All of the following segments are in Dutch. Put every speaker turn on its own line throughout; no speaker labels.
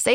Say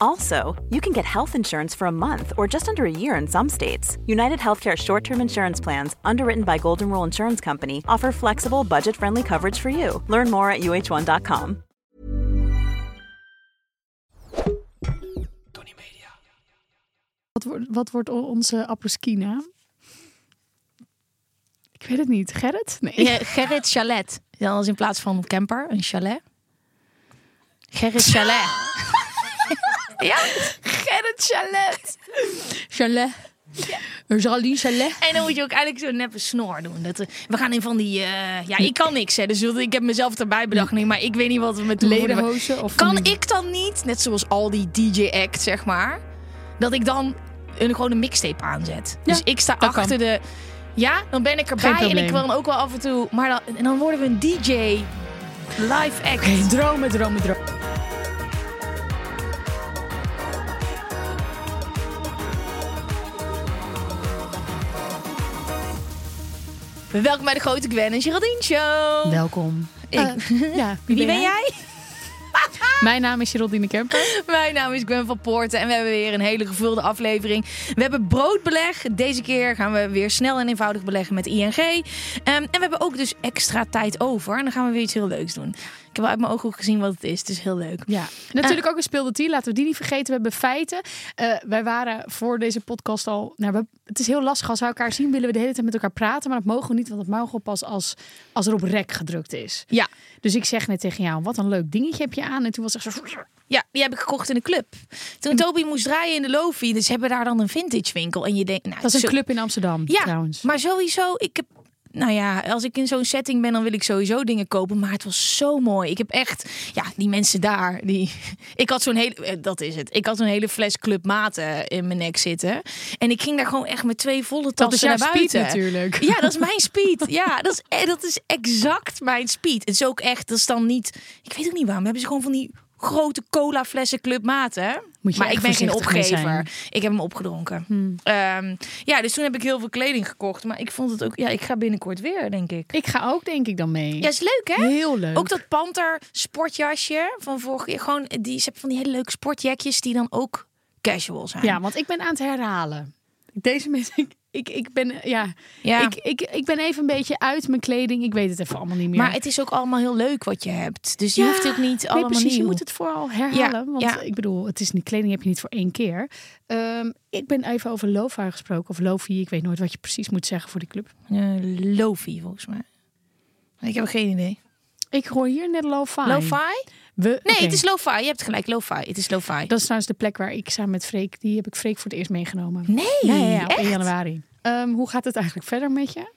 Also, you can get health insurance for a month or just under a year in some states. United Healthcare short term insurance plans, underwritten by Golden Rule Insurance Company, offer flexible, budget friendly coverage for you. Learn more at uh1.com.
Wat, wordt- wat wordt o- onze apres-ski naam? Ik weet het niet. Gerrit? Nee.
Ja, Gerrit Chalet. Dan als in plaats van camper, een chalet. Gerrit Chalet. ja,
Gerrit Chalet.
chalet. Een Jali chalet. En dan moet je ook eigenlijk zo'n neppe snor doen. Dat, eh, we gaan in van die... eh, ja, ik kan niks, hè, dus dat- ik heb mezelf erbij bedacht. Nee, maar ik weet niet wat we met de
Lederhozen of
Kan
van die-
ik dan niet, net zoals al die DJ-acts, zeg maar... dat ik dan een, gewoon een mixtape aanzet? dus ik sta
dat kan.
achter de... Ja, dan ben ik
Geen
erbij en
probleem.
ik wil ook wel af en toe... Maar dan, en dan worden we een DJ... Live act.
Dromen, dromen, dromen.
Welkom bij de Grote Gwen en Geraldine Show.
Welkom.
Ik-
Eh, ja,
Wie ben jij?
Mijn naam is Geraldine Kemper.
Mijn naam is Gwen van Poorten en we hebben weer een hele gevulde aflevering. We hebben broodbeleg. Deze keer gaan we weer snel en eenvoudig beleggen met ING. Ehm, en we hebben ook dus extra tijd over. En dan gaan we weer iets heel leuks doen. Ik heb wel uit mijn ooghoek gezien wat het is. Het is heel leuk.
Ja, natuurlijk ook een speelde die. Laten we die niet vergeten. We hebben feiten. Eh, wij waren voor deze podcast al. Nou, we- het is heel lastig als we elkaar zien. Willen we de hele tijd met elkaar praten, maar dat mogen we niet, want dat mogen we pas als, als er op rek gedrukt is.
Ja.
Dus ik zeg net tegen jou: wat een leuk dingetje heb je aan. En toen was echt zo.
Ja, die heb ik gekocht in de club. Toen Toby moest draaien in de Lofi, dus hebben we daar dan een vintage winkel. En je denkt, nou,
Dat is een
zo-
club in Amsterdam,
Ja,
trouwens.
maar sowieso, ik heb... Nou ja, als ik in zo'n setting ben, dan wil ik sowieso dingen kopen. Maar het was zo mooi. Ik heb echt... Ja, die mensen daar, die... Ik had zo'n hele... eh, Dat is het. Ik had zo'n hele fles Club Mate in mijn nek zitten. En ik ging daar gewoon echt met twee volle tassen
Dat is jouw
naar
speed
buiten.
natuurlijk.
Ja, dat is mijn speed. Ja, dat is, eh, dat is exact mijn speed. Het is ook echt... Dat is dan niet... Ik weet ook niet waarom. Hebben ze gewoon van die grote cola flessen Club Mate?
Moet je
maar
echt
ik ben geen
voorzichtig mee zijn.
opgever. Ik heb hem opgedronken.
Hmm.
Ehm, ja, dus toen heb ik heel veel kleding gekocht. Maar ik vond het ook... Ja, ik ga binnenkort weer, denk ik.
Ik ga ook, denk ik, dan mee.
Ja, is leuk, hè?
Heel leuk.
Ook dat panter sportjasje van vorige keer. Gewoon, die, ze hebben van die hele leuke sportjekjes die dan ook casual zijn.
Ja, want ik ben aan het herhalen. Deze mensen, ik, ik, ik ben, ja,
Ja.
Ik, ik, ik ben even een beetje uit mijn kleding. Ik weet het even allemaal niet meer.
Maar het is ook allemaal heel leuk wat je hebt. Dus je
Ja,
hoeft ook niet
nee,
allemaal
precies, je
nieuw.
moet het vooral herhalen.
Ja,
want
ja.
ik bedoel, het is niet kleding heb je niet voor één keer. Ehm, ik ben even over Lofa gesproken. Of Lofi, ik weet nooit wat je precies moet zeggen voor die club.
Eh, Lofi, volgens mij. Ik heb geen idee.
Ik hoor hier net Lofa.
Lo-fi?
We,
Nee, het is lo-fi. Je hebt gelijk, lo-fi. Het is lo-fi.
Dat is trouwens de plek waar ik samen met Freek, die heb ik Freek voor het eerst meegenomen.
Nee,
Ja, ja, ja, op
echt?
1 januari. Ehm, hoe gaat het eigenlijk verder met je?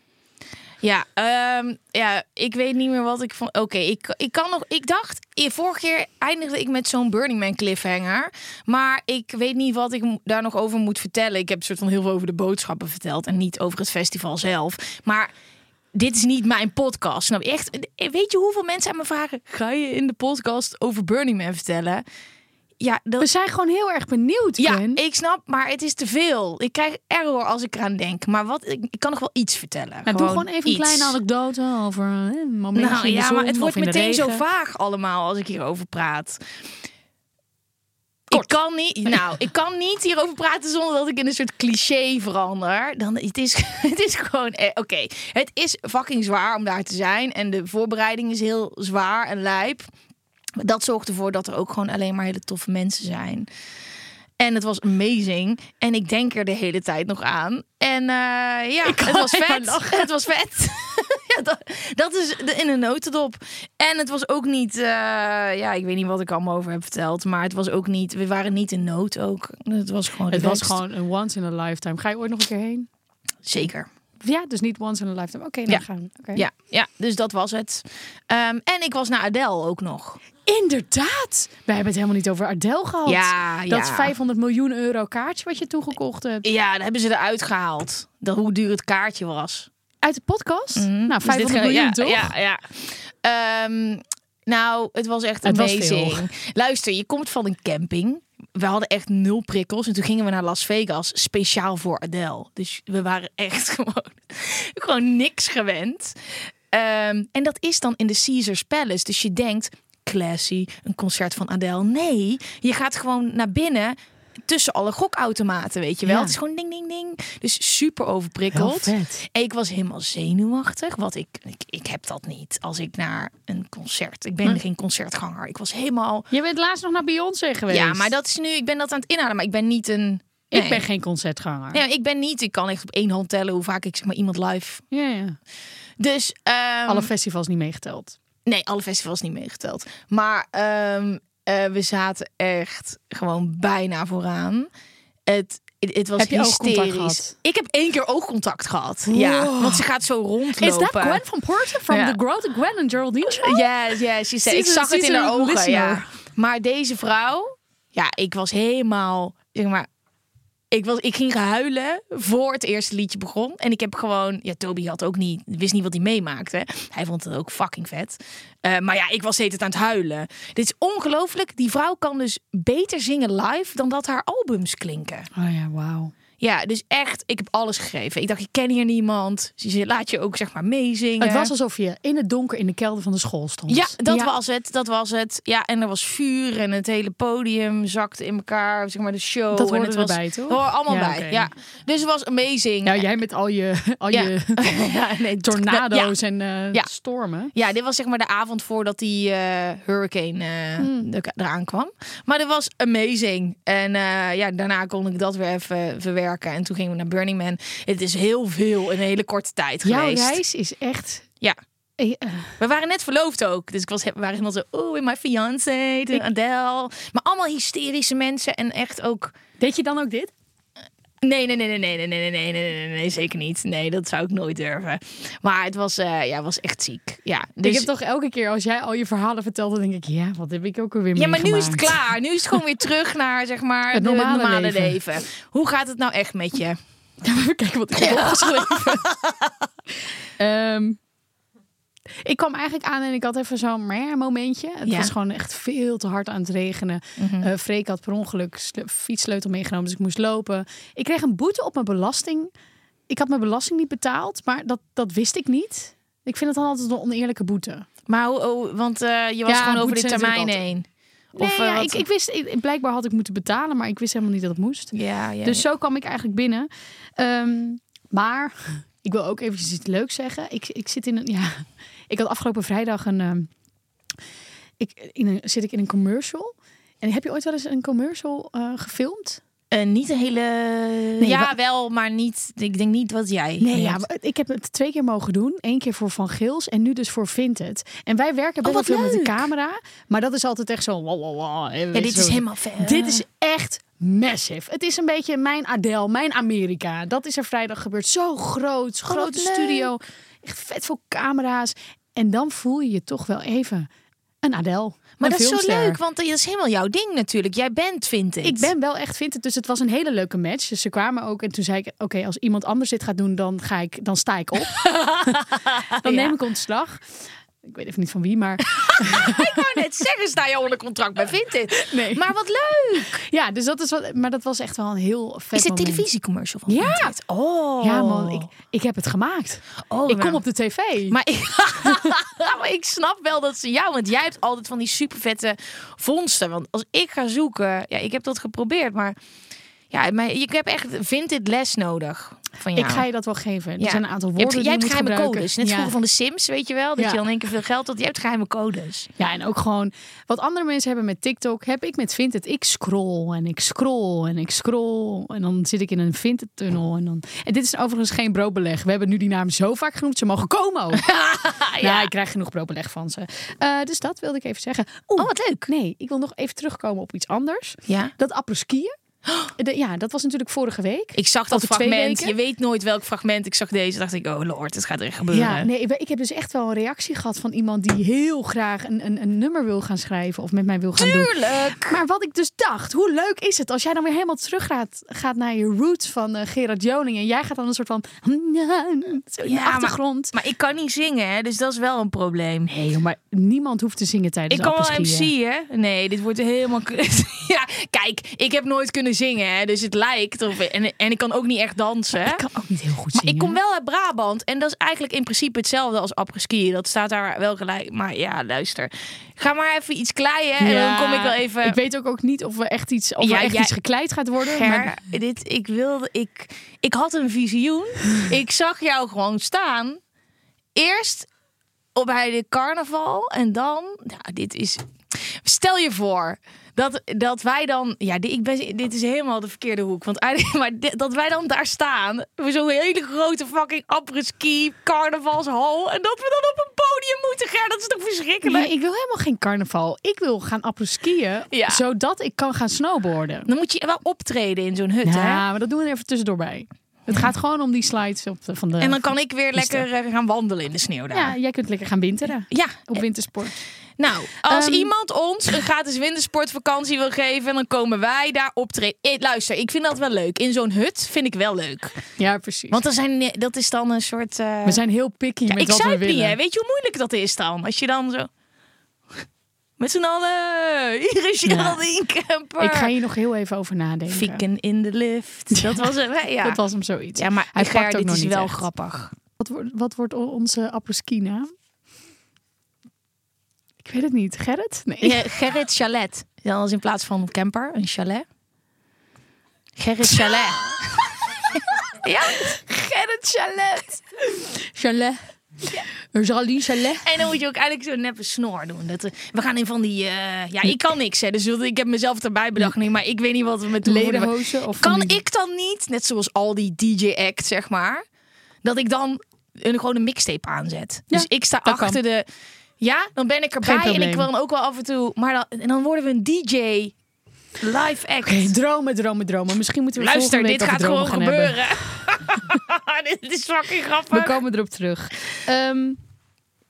Ja, ehm, ja, ik weet niet meer wat ik van. Oké, ik, ik kan nog. Ik dacht, eh, vorige keer eindigde ik met zo'n Burning Man cliffhanger. Maar ik weet niet wat ik mo- daar nog over moet vertellen. Ik heb soort van heel veel over de boodschappen verteld en niet over het festival zelf. Maar dit is niet mijn podcast. Snap je? echt? eh, Weet je hoeveel mensen aan me vragen? Ga je in de podcast over Burning Man vertellen? Ja, dat,
We zijn gewoon heel erg benieuwd,
ja,
Gwen.
ik snap, maar het is te veel. Ik krijg error als ik eraan denk. Maar wat, ik, ik kan nog wel iets vertellen.
Nou, doe gewoon even een
iets.
kleine anekdote over eh, een momentje
Nou
in de
ja,
zon
maar het
of
wordt
in de
meteen zo
regen.
vaag allemaal als ik hierover praat. Ik kan, niet, nou, ik kan niet hierover praten zonder dat ik in een soort cliché verander. Dan, het, is, het is gewoon... eh, Oké, het is fucking zwaar om daar te zijn. En de voorbereiding is heel zwaar en lijp. Maar dat zorgt ervoor dat er ook gewoon alleen maar hele toffe mensen zijn. En het was amazing. En ik denk er de hele tijd nog aan. En eh, ja,
Ik kan
het was
alleen maar
vet.
lachen.
Het was vet. ja, dat, dat is de, in een notendop. En het was ook niet... eh, ja, ik weet niet wat ik allemaal over heb verteld. Maar het was ook niet... We waren niet in nood ook. Het was gewoon
Het was
relaxed.
gewoon een once in a lifetime. Ga je ooit nog een keer heen?
Zeker.
Ja, dus niet once in a lifetime. Oké, dan
Ja.
gaan we. Oké.
Ja, ja, dus dat was het. Ehm, en ik was naar Adele ook nog.
Inderdaad. Wij hebben het helemaal niet over Adele gehad.
Ja,
dat
ja.
500 miljoen euro kaartje wat je toen gekocht hebt.
Ja, daar hebben ze eruit gehaald. Dat, hoe duur het kaartje was.
Uit de podcast? Nou,
Dus dit
500
ge-
miljoen
ja,
toch?
Ja, ja. Ehm, nou, het was echt
Het was
amazing.
veel.
Luister, je komt van een camping. We hadden echt nul prikkels. En toen gingen we naar Las Vegas, speciaal voor Adele. Dus we waren echt gewoon, gewoon niks gewend. Ehm, en dat is dan in de Caesars Palace. Dus je denkt, classy, een concert van Adele. Nee, je gaat gewoon naar binnen tussen alle gokautomaten, weet je wel.
Ja.
Het is gewoon ding, ding, ding. Dus super
Wel
overprikkeld.
vet.
En ik was helemaal zenuwachtig, want ik, ik, ik heb dat niet als ik naar een concert. Ik ben geen concertganger. Ik was helemaal.
Je bent laatst nog naar Beyoncé geweest.
Ja, maar dat is nu. Ik ben dat aan het inhalen, maar ik ben niet een.
Ik
nee.
ben geen concertganger.
Nee, ik ben niet. Ik kan echt op één hand tellen hoe vaak ik zeg maar iemand live.
Ja, ja.
Dus ehm,
Alle festivals niet meegeteld.
nee, alle festivals niet meegeteld. Maar ehm, eh, we zaten echt gewoon bijna vooraan. Het, het, het was
Heb je
hysterisch.
oogcontact gehad?
Ik heb één keer oogcontact gehad. Ja, want ze gaat zo rondlopen.
Is dat Gwen van Porter from
Ja.
The Grow to Gwen and Geraldine show?
Yes, yes. she said- ik
Season-
zag het in
season
haar ogen.
listener.
Ja. Maar deze vrouw, ja, ik was helemaal, zeg maar. Ik, was, ik ging huilen voor het eerste liedje begon. En ik heb gewoon... Ja, Toby had ook niet... Wist niet wat hij meemaakte. Hij vond het ook fucking vet. Eh, maar ja, ik was steeds aan het huilen. Dit is ongelooflijk. Die vrouw kan dus beter zingen live... dan dat haar albums klinken.
Oh ja, wauw.
Ja, dus echt. Ik heb alles gegeven. Ik dacht, ik ken hier niemand. Ze laat je ook, zeg maar, meezingen.
Het was alsof je in het donker in de kelder van de school stond.
Ja, dat was het. Dat was het. Ja, en er was vuur en het hele podium zakte in elkaar. Zeg maar de show.
Dat
en
hoorde
het was
erbij, toch?
Dat hoorde allemaal
Ja,
bij.
oké.
Ja. Dus het was amazing.
Nou, jij met al je, al
ja.
je
ja, nee, t-
tornado's
Ja.
en eh,
Ja.
stormen.
Ja, dit was zeg maar de avond voordat die eh, hurricane eh,
Hmm.
er- eraan kwam. Maar dat was amazing. En eh, ja, daarna kon ik dat weer even verwerken. En toen gingen we naar Burning Man. Het is heel veel in een hele korte tijd
Jouw
geweest.
reis is echt...
Ja.
eh, eh,
We waren net verloofd ook. Dus ik was, we waren helemaal zo, oh, in my fiancé, de Adele. Maar allemaal hysterische mensen en echt ook...
Deed je dan ook dit?
Nee, nee, nee, nee, nee, nee, nee, nee, nee, nee, nee, nee, zeker niet. Nee, dat zou ik nooit durven. Maar het was, eh, ja, het was echt ziek. Ja, dus...
Ik heb toch elke keer als jij al je verhalen vertelt, dan denk ik, ja, wat heb ik ook alweer
ja, maar nu is het
meegemaakt?
klaar. Nu is het gewoon weer terug naar, zeg maar,
Het
de
normale leven.
leven. Hoe gaat het nou echt met je?
Even kijken wat ik heb opgeschreven. Ehm, ik kwam eigenlijk aan en ik had even zo'n meh momentje. Het
Ja.
was gewoon echt veel te hard aan het regenen. Eh, Freek had per ongeluk sle- fietssleutel meegenomen, dus ik moest lopen. Ik kreeg een boete op mijn belasting. Ik had mijn belasting niet betaald, maar dat, dat wist ik niet. Ik vind het dan altijd een oneerlijke boete.
Maar, hoe- oh, want eh, je was
Ja,
gewoon over de
boetes zijn natuurlijk
termijn heen.
Of,
eh,
ja,
wat-
ik, ik wist, ik- blijkbaar had ik moeten betalen, maar ik wist helemaal niet dat het moest.
Ja, ja.
Dus zo kwam ik eigenlijk binnen. Ehm, maar ik wil ook eventjes iets leuks zeggen. Ik, ik zit in een. Ja, ik had afgelopen vrijdag een. ehm, ik, in een zit ik in een commercial. En heb je ooit wel eens een commercial eh, gefilmd?
Eh, niet een hele. ja,
wa-
wel, maar niet. Ik denk niet wat jij.
Nee, Nou ja,
hebt.
maar ik heb het twee keer mogen doen. Eén keer voor Van Gils en nu dus voor Vinted. En wij werken best wel
Oh, wat
veel met de
leuk.
camera. Maar dat is altijd echt zo... wa, wa, wa, en
Ja,
weet
dit
je
is
zo.
helemaal ver.
Dit is echt massive. Het is een beetje mijn Adele, mijn Amerika. Dat is er vrijdag gebeurd. Zo groot, grote
Oh, leuk.
studio. Echt vet veel camera's. En dan voel je je toch wel even een Adele.
Maar
een
dat is zo
filmster.
leuk, want dat is helemaal jouw ding natuurlijk. Jij bent, vind ik.
Ik ben wel echt vindt het, dus het was een hele leuke match. Dus ze kwamen ook en toen zei ik: Oké, als iemand anders dit gaat doen, dan, ga ik, dan sta ik op. dan neem ik ontslag. Ik weet even niet van wie, maar
Ik wou net zeggen, sta je onder contract bij Vinted.
Nee.
Maar wat leuk.
ja, dus dat is wat. Maar dat was echt wel een heel vet.
Is dit
moment.
televisiecommercial van
Ja.
Vinted? Oh.
Ja, man, ik, ik heb het gemaakt.
Oh,
ik kom
maar-
op de tv.
Maar ik, maar ik snap wel dat ze jou, want jij hebt altijd van die supervette vondsten. Want als ik ga zoeken, ja, ik heb dat geprobeerd, maar Ja, maar ik heb echt vintage les nodig van jou.
Ik ga je dat wel geven. Er
Ja.
zijn een aantal
Je
woorden die
hebt- Jij hebt
je moet
geheime
gebruiken.
codes. Net
Ja.
vroeger van de Sims, weet je wel. Dat
Ja.
je dan in één keer veel geld had. Je hebt geheime codes.
Ja, en ook gewoon wat andere mensen hebben met TikTok, heb ik met Vinted. Ik scroll en ik scroll en ik scroll. En dan zit ik in een Vinted-tunnel. En, dan... en dit is overigens geen broodbeleg. We hebben nu die naam zo vaak genoemd, ze mogen komen. ook. ja, ik krijg genoeg broodbeleg van ze. Eh, dus dat wilde ik even zeggen. oh, wat leuk. Nee, ik wil nog even terugkomen op iets anders.
Ja.
Dat apres-skiën. De- Ja, dat was natuurlijk vorige week.
Ik zag
Of
dat
de twee
fragment.
weken.
Je weet nooit welk fragment. Ik zag deze. dacht ik, oh lord, het gaat er echt gebeuren.
Ja, nee, ik, ik heb dus echt wel een reactie gehad van iemand die heel graag een, een, een nummer wil gaan schrijven of met mij wil gaan doen.
Tuurlijk.
Maar wat ik dus dacht, hoe leuk is het als jij dan weer helemaal terug gaat, gaat naar je roots van eh, Gerard Joning en jij gaat dan een soort van zo in de
Ja, maar-
achtergrond.
Maar ik kan niet zingen, hè, dus dat is wel een probleem.
Nee, joh, maar niemand hoeft te zingen tijdens
Ik kan wel
apres-skiën.
MC, hè? Nee, dit wordt helemaal kut. ja, kijk, ik heb nooit kunnen zingen, hè? Dus het lijkt. Of, en, en ik kan ook niet echt dansen.
Ik kan ook niet heel goed
Maar
zingen.
ik kom wel uit Brabant en dat is eigenlijk in principe hetzelfde als apres-ski. Dat staat daar wel gelijk. Maar ja, luister. Ga maar even iets kleien en
Ja,
dan kom ik wel even...
Ik weet ook, ook niet of we echt iets, of
Ja,
er echt
jij-
iets gekleid gaat worden.
Ger,
maar-
dit, ik wilde, ik, ik had een visioen. ik zag jou gewoon staan. Eerst op bij de carnaval en dan, nou, dit is. Stel je voor dat, dat wij dan, ja, di- ik ben, dit is helemaal de verkeerde hoek, want eigenlijk, maar di- dat wij dan daar staan, we zo'n hele grote fucking apres-ski carnavalshal en dat we dan op een podium moeten, Ger, dat is toch verschrikkelijk?
Nee, ik wil helemaal geen carnaval. Ik wil gaan apres-skiën,
Ja.
zodat ik kan gaan snowboarden.
Dan moet je wel optreden in zo'n hut, hè?
Ja, maar dat doen we er even tussendoor bij. Het gaat gewoon om die slides op de, van de...
En dan kan ik weer
Is dat-
lekker eh, gaan wandelen in de sneeuw daar.
Ja, jij kunt lekker gaan winteren.
ja
Op wintersport.
Nou, als
Ehm,
iemand ons een gratis wintersportvakantie wil geven, dan komen wij daar optreden. Eh, luister, ik vind dat wel leuk. In zo'n hut vind ik wel leuk.
Ja, precies.
Want dan zijn, eh, dat is dan een soort. eh,
we zijn heel picky
ja,
met
ik
wat
zei
we
het
willen.
niet, hè? Weet je hoe moeilijk dat is dan? Als je dan zo. Met z'n allen. eh, Hier is Geraldine Kemper.
ik ga hier nog heel even over nadenken.
Fieken in de lift. Dat was het. hè? Ja,
Dat was hem zoiets.
ja maar
Hij
Ger,
pakt ook
dit
nog
is
niet
wel
echt.
grappig.
Wat, wordt- wat wordt o- onze apres-ski naam? Ik weet het niet. Gerrit? Nee.
Ja, Gerrit Chalet. Dan is in plaats van een camper een chalet. Gerrit Chalet. ja, Gerrit Chalet.
Chalet. Charlie Chalet.
En dan moet je ook eigenlijk zo'n neppe snor doen. Dat, eh, we gaan in van die... eh, ja, ik kan niks, hè. Dus dat- ik heb mezelf erbij bedacht. Nee, maar ik weet niet wat we met doen.
Lederhozen of van
Kan
die-
ik dan niet, net zoals al die DJ-act, zeg maar... dat ik dan een, gewoon een mixtape aanzet.
Ja,
dus ik sta
dat kan.
achter de... Ja, dan ben ik
Geen
erbij en ik
probleem.
wil dan ook wel af en toe... Maar dan, en dan worden we een DJ... Live act.
Oké, dromen, dromen, dromen. Misschien moeten we
Luister,
volgende week
dit
over dromen
gaat gewoon
gaan hebben.
gebeuren. dit is fucking grappig.
We komen erop terug. Ehm,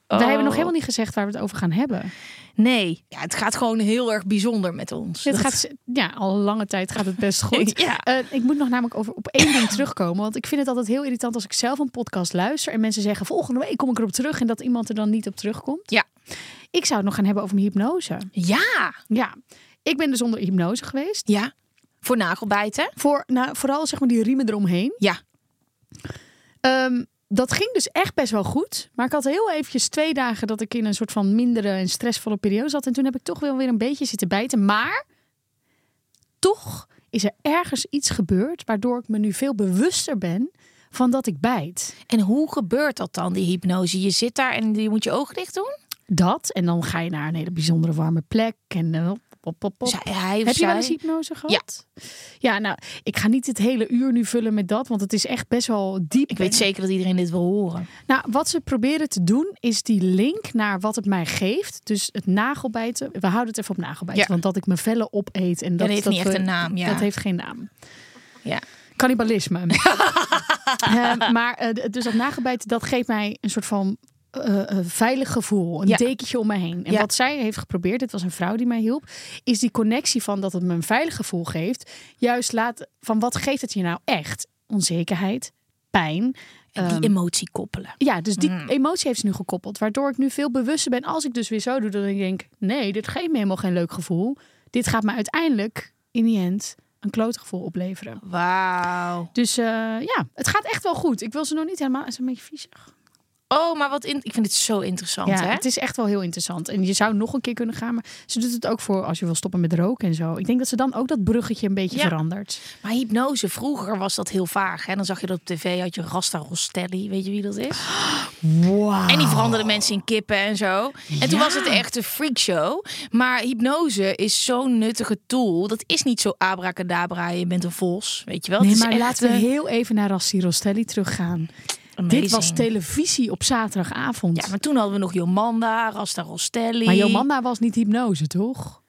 Oh.
Wij hebben nog helemaal niet gezegd waar we het over gaan hebben.
Nee, ja, het gaat gewoon heel erg bijzonder met ons.
Het
Dat-
gaat, ja, al een lange tijd gaat het best goed.
Ja.
Eh, ik moet nog namelijk over, op één ding terugkomen. Want ik vind het altijd heel irritant als ik zelf een podcast luister... en mensen zeggen volgende week kom ik erop terug... en dat iemand er dan niet op terugkomt.
Ja.
Ik zou het nog gaan hebben over mijn hypnose.
Ja.
Ja, ik ben dus onder hypnose geweest.
Ja. Voor nagelbijten.
Voor, nou, vooral zeg maar die riemen eromheen.
Ja.
Ehm, dat ging dus echt best wel goed. Maar ik had heel eventjes twee dagen dat ik in een soort van mindere en stressvolle periode zat. En toen heb ik toch wel weer een beetje zitten bijten. Maar toch is er ergens iets gebeurd waardoor ik me nu veel bewuster ben van dat ik bijt.
En hoe gebeurt dat dan, die hypnose? Je zit daar en je moet je ogen dicht doen?
Dat en dan ga je naar een hele bijzondere warme plek en eh, hop, hop, hop, hop.
Zij- hij of
Heb je wel
zij?
eens hypnose gehad? Ja. Ja, nou, ik ga niet het hele uur nu vullen met dat, want het is echt best wel diep.
Ik weet zeker dat iedereen dit wil horen.
Nou, wat ze proberen te doen is die link naar wat het mij geeft. Dus het nagelbijten. We houden het even op nagelbijten.
Ja.
Want dat ik mijn vellen opeet. En dat,
Dat, heeft
dat
niet echt
we-
een naam. Ja.
Dat heeft geen naam.
ja.
Cannibalisme. Eh, maar eh, d- dus dat nagelbijten, dat geeft mij een soort van eh, eh, veilig gevoel. Een
Ja.
dekentje om me heen. En
Ja.
wat zij heeft geprobeerd, dit was een vrouw die mij hielp, is die connectie van dat het me een veilig gevoel geeft. Juist laat van wat geeft het je nou echt? Onzekerheid, pijn,
En
Ehm.
die emotie koppelen.
ja, dus die
Hmm.
emotie heeft ze nu gekoppeld. Waardoor ik nu veel bewuster ben als ik dus weer zo doe. Dat ik denk, nee, dit geeft me helemaal geen leuk gevoel. Dit gaat me uiteindelijk in die end een klote gevoel opleveren.
Wauw.
Dus eh, ja, het gaat echt wel goed. Ik wil ze nog niet helemaal... Is het een beetje viezig?
oh, maar wat in. Ik vind het zo interessant,
Ja,
hè?
het is echt wel heel interessant. En je zou nog een keer kunnen gaan. Maar ze doet het ook voor als je wil stoppen met roken en zo. Ik denk dat ze dan ook dat bruggetje een beetje
Ja.
verandert.
Maar hypnose, vroeger was dat heel vaag. Hè? Dan zag je dat op tv, had je Rasta Rostelli, weet je wie dat is?
Wow.
En die veranderden mensen in kippen en zo. En toen
Ja.
was het echt een freakshow. Maar hypnose is zo'n nuttige tool. Dat is niet zo abracadabra, je bent een vos, weet je wel?
Nee,
Het is
maar
echt,
laten we
eh,
heel even naar Rassi Rostelli teruggaan.
amazing.
Dit was televisie op zaterdagavond.
Ja, maar toen hadden we nog Jomanda, Rasta Rostelli.
Maar Jomanda was niet hypnose, toch?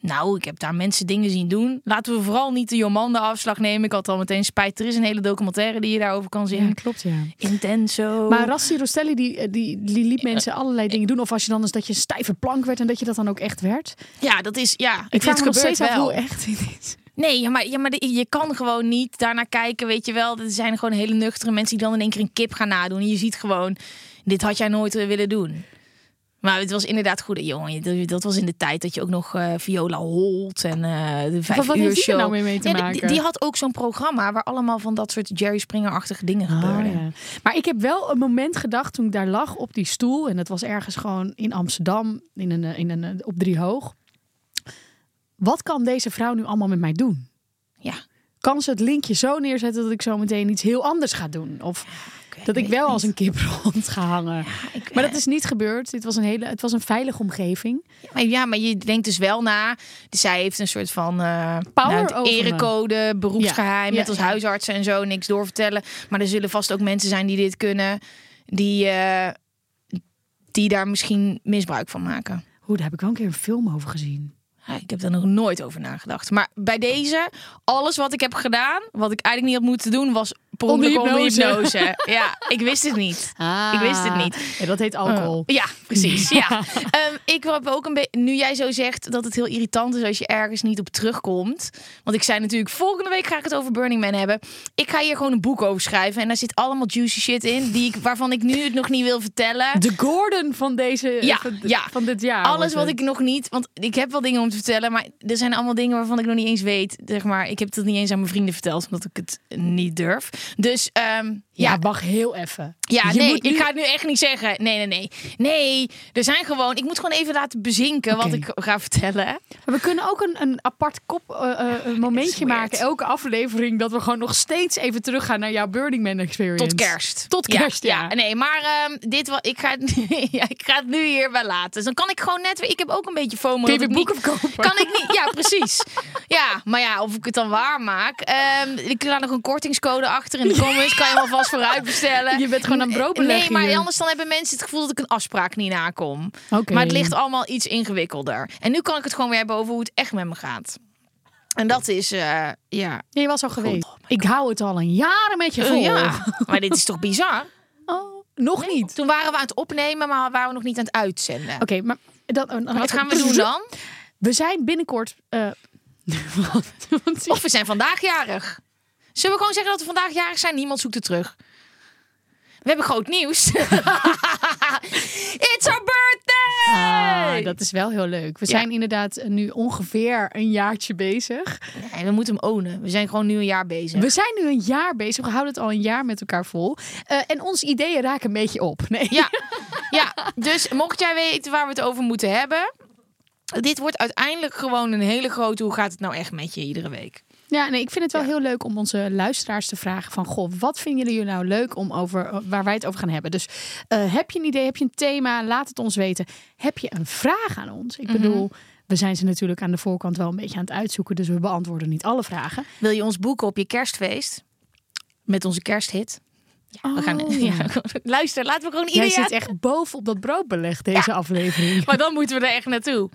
Nou, ik heb daar mensen dingen zien doen. Laten we vooral niet de Jomanda-afslag nemen. Ik had al meteen spijt. Er is een hele documentaire die je daarover kan zien.
klopt, ja.
Intenso.
Maar Rassi Rostelli die, eh, die, die liet mensen allerlei dingen doen. Of als je dan eens dat je een stijve plank werd en dat je dat dan ook echt werd.
ja, dat is ja.
Ik vraag
dit
me nog
gebeurt
steeds af
wel.
hoe echt dit is.
Nee, ja, maar, ja, maar de- je kan gewoon niet daarnaar kijken, weet je wel. Er zijn gewoon hele nuchtere mensen die dan in één keer een kip gaan nadoen. En je ziet gewoon, dit had jij nooit eh, willen doen. Maar het was inderdaad goed. eh, Jongen, dat- dat was in de tijd dat je ook nog eh, Viola Holt en eh, de vijf
wat
uur
heeft die er
show.
nou weer mee te
Ja, die- Die,
maken?
had ook zo'n programma waar allemaal van dat soort Jerry Springer-achtige dingen gebeurden.
Ah, ja. Maar ik heb wel een moment gedacht toen ik daar lag op die stoel. En dat was ergens gewoon in Amsterdam, in een, eh, in een, eh, op drie hoog. Wat kan deze vrouw nu allemaal met mij doen?
Ja,
Kan ze het linkje zo neerzetten dat ik zo meteen iets heel anders ga doen? Of dat ik
weet
wel
het
als een kip rond ga hangen.
ik-
maar dat is niet gebeurd. Dit was een hele, het was een veilige omgeving.
Maar ja, maar je denkt dus wel na. Dus zij heeft een soort van eh,
Power
nou, het
over me.
erecode, beroepsgeheim,
Ja,
met
ja,
als
ja.
huisartsen en zo niks doorvertellen. Maar er zullen vast ook mensen zijn die dit kunnen, die, eh, die daar misschien misbruik van maken.
Hoe, daar heb ik wel een keer een film over gezien.
Ja, Ik heb daar nog nooit over nagedacht. Maar bij deze, alles wat ik heb gedaan, wat ik eigenlijk niet had moeten doen, was per
Onder
ongeluk onder
hypnose.
hypnose. Ja, ik wist het niet. Ik wist het niet. Eh,
Ja, dat heet alcohol.
Ja, precies. Ja. Ehm, ik heb ook een beetje. Nu jij zo zegt dat het heel irritant is als je ergens niet op terugkomt. Want ik zei natuurlijk, volgende week ga ik het over Burning Man hebben. Ik ga hier gewoon een boek over schrijven. En daar zit allemaal juicy shit in. Die ik, waarvan ik nu het nog niet wil vertellen.
De Gordon van deze eh,
Ja,
van,
ja.
van dit jaar.
Alles
wordt
wat
het.
ik nog niet. Want ik heb wel dingen om te vertellen. Maar er zijn allemaal dingen waarvan ik nog niet eens weet. Zeg maar, ik heb dat niet eens aan mijn vrienden verteld. Omdat ik het niet durf. Dus ehm,
Ja,
ja,
wacht heel even.
Ja,
Je
nee,
moet nu-
ik ga het nu echt niet zeggen. Nee, nee, nee. Nee, er zijn gewoon... Ik moet gewoon even laten bezinken wat
Oké.
ik ga vertellen.
Maar We kunnen ook een, een apart kop, eh, eh, een momentje
weird.
maken. Elke aflevering dat we gewoon nog steeds even teruggaan naar jouw Burning Man experience.
Tot kerst.
Tot kerst, ja.
Nee, maar ehm, dit wel, ik, ga het, nu- ja, ik ga het nu hierbij laten. Dus dan kan ik gewoon net weer... Ik heb ook een beetje FOMO.
Kun je weer
dat ik niet-
boeken verkopen?
Kan ik niet... Ja, precies. Ja, maar ja, of ik het dan waar maak. Ehm, ik laat nog een kortingscode achter in de comments. Kan je hem alvast vooruit bestellen.
Je bent gewoon aan het brood
Nee,
beleggen
maar
hier.
anders dan hebben mensen het gevoel dat ik een afspraak niet nakom.
Oké.
Maar het ligt allemaal iets ingewikkelder. En nu kan ik het gewoon weer hebben over hoe het echt met me gaat. En dat is, eh, ja.
Ja, je was al geweest. ik hou het al een jaren met je vol.
Oh, Eh, ja. Maar dit is toch bizar?
Oh, nog niet.
Toen waren we aan het opnemen, maar waren we nog niet aan het uitzenden.
Oké, maar dan, dan-
Wat gaan we doen dan?
We zijn binnenkort. eh, wat- wat zie-
Of we zijn vandaag jarig. Zullen we gewoon zeggen dat we vandaag jarig zijn? Niemand zoekt het terug. We hebben groot nieuws. It's our birthday!
Ah, dat is wel heel leuk. We
Ja.
zijn inderdaad eh, nu ongeveer een jaartje bezig.
Nee, we moeten hem ownen. We zijn gewoon nu een jaar bezig.
We zijn nu een jaar bezig. We houden het al een jaar met elkaar vol. Eh, en onze ideeën raken een beetje op. Nee.
Ja. ja, dus mocht jij weten waar we het over moeten hebben. Dit wordt uiteindelijk gewoon een hele grote. Hoe gaat het nou echt met je iedere week?
Ja, nee, ik vind het wel heel leuk om onze luisteraars te vragen van... Goh, wat vinden jullie nou leuk om over, waar wij het over gaan hebben? Dus eh, heb je een idee, heb je een thema? Laat het ons weten. Heb je een vraag aan ons? Ik bedoel, we zijn ze natuurlijk aan de voorkant wel een beetje aan het uitzoeken... dus we beantwoorden niet alle vragen.
Wil je ons boeken op je kerstfeest? Met onze kersthit. Ja, we gaan,
Oh.
ja. Luister, laten we gewoon
Jij
ieder jaar...
zit echt bovenop dat broodbeleg deze aflevering.
Maar dan moeten we er echt naartoe.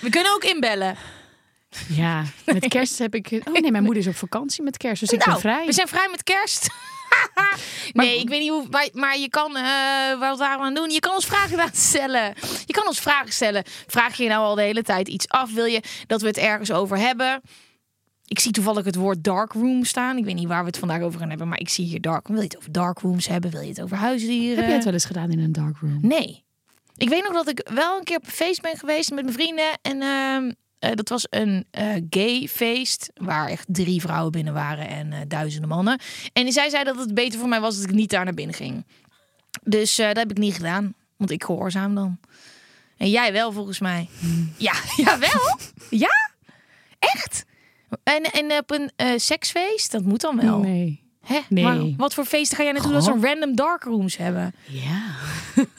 We kunnen ook inbellen.
Ja, met kerst heb ik... Oh nee, mijn moeder is op vakantie met kerst, dus ik
nou,
ben vrij.
we zijn vrij met kerst. nee, ik weet niet hoe... Maar, maar je kan... eh, wat waren we aan het doen? Je kan ons vragen laten stellen. Je kan ons vragen stellen. Vraag je nou al de hele tijd iets af? Wil je dat we het ergens over hebben? Ik zie toevallig het woord dark room staan. Ik weet niet waar we het vandaag over gaan hebben, maar ik zie hier dark. Wil je het over dark rooms hebben? Wil je het over huisdieren?
Heb jij het wel eens gedaan in een dark room?
Nee. Ik weet nog dat ik wel een keer op een feest ben geweest met mijn vrienden. En ehm, eh, dat was een eh, gay feest. Waar echt drie vrouwen binnen waren en eh, duizenden mannen. En zij zei dat het beter voor mij was dat ik niet daar naar binnen ging. Dus eh, dat heb ik niet gedaan, want ik gehoorzaam dan. En jij wel, volgens mij. Ja, jawel. ja, echt. En, en op een eh, seksfeest, dat moet dan
Nou.
wel.
Nee.
Hè?
Nee.
Maar wat voor feesten ga jij naartoe dat ze random darkrooms hebben?
Ja.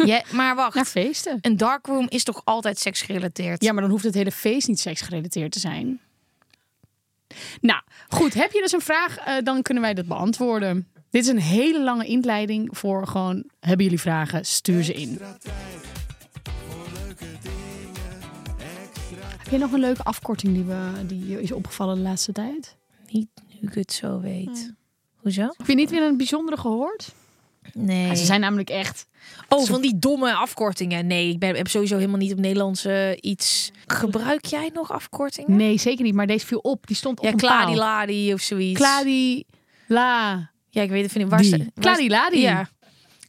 Ja, maar wacht.
Naar feesten.
Een darkroom is toch altijd seksgerelateerd?
Ja, maar dan hoeft het hele feest niet seksgerelateerd te zijn. Nou, goed. Heb je dus een vraag, eh, dan kunnen wij dat beantwoorden. Dit is een hele lange inleiding voor gewoon... Hebben jullie vragen? Stuur ze in. Heb je nog een leuke afkorting die, we, die je is opgevallen de laatste tijd?
Niet nu ik het zo weet. Hoezo?
Heb je niet weer een bijzondere gehoord?
Nee.
Ja, ze zijn namelijk echt...
Oh, van die domme afkortingen. Nee, ik ben, heb sowieso helemaal niet op Nederlands eh, iets. Gebruik jij nog afkortingen?
Nee, zeker niet. Maar deze viel op. Die stond op
Ja,
een paal.
Kladiladi of zoiets.
Kladi... La...
Ja, ik weet het niet. Waar sta-
Die.
waar
Kladi Ladi.
Ja,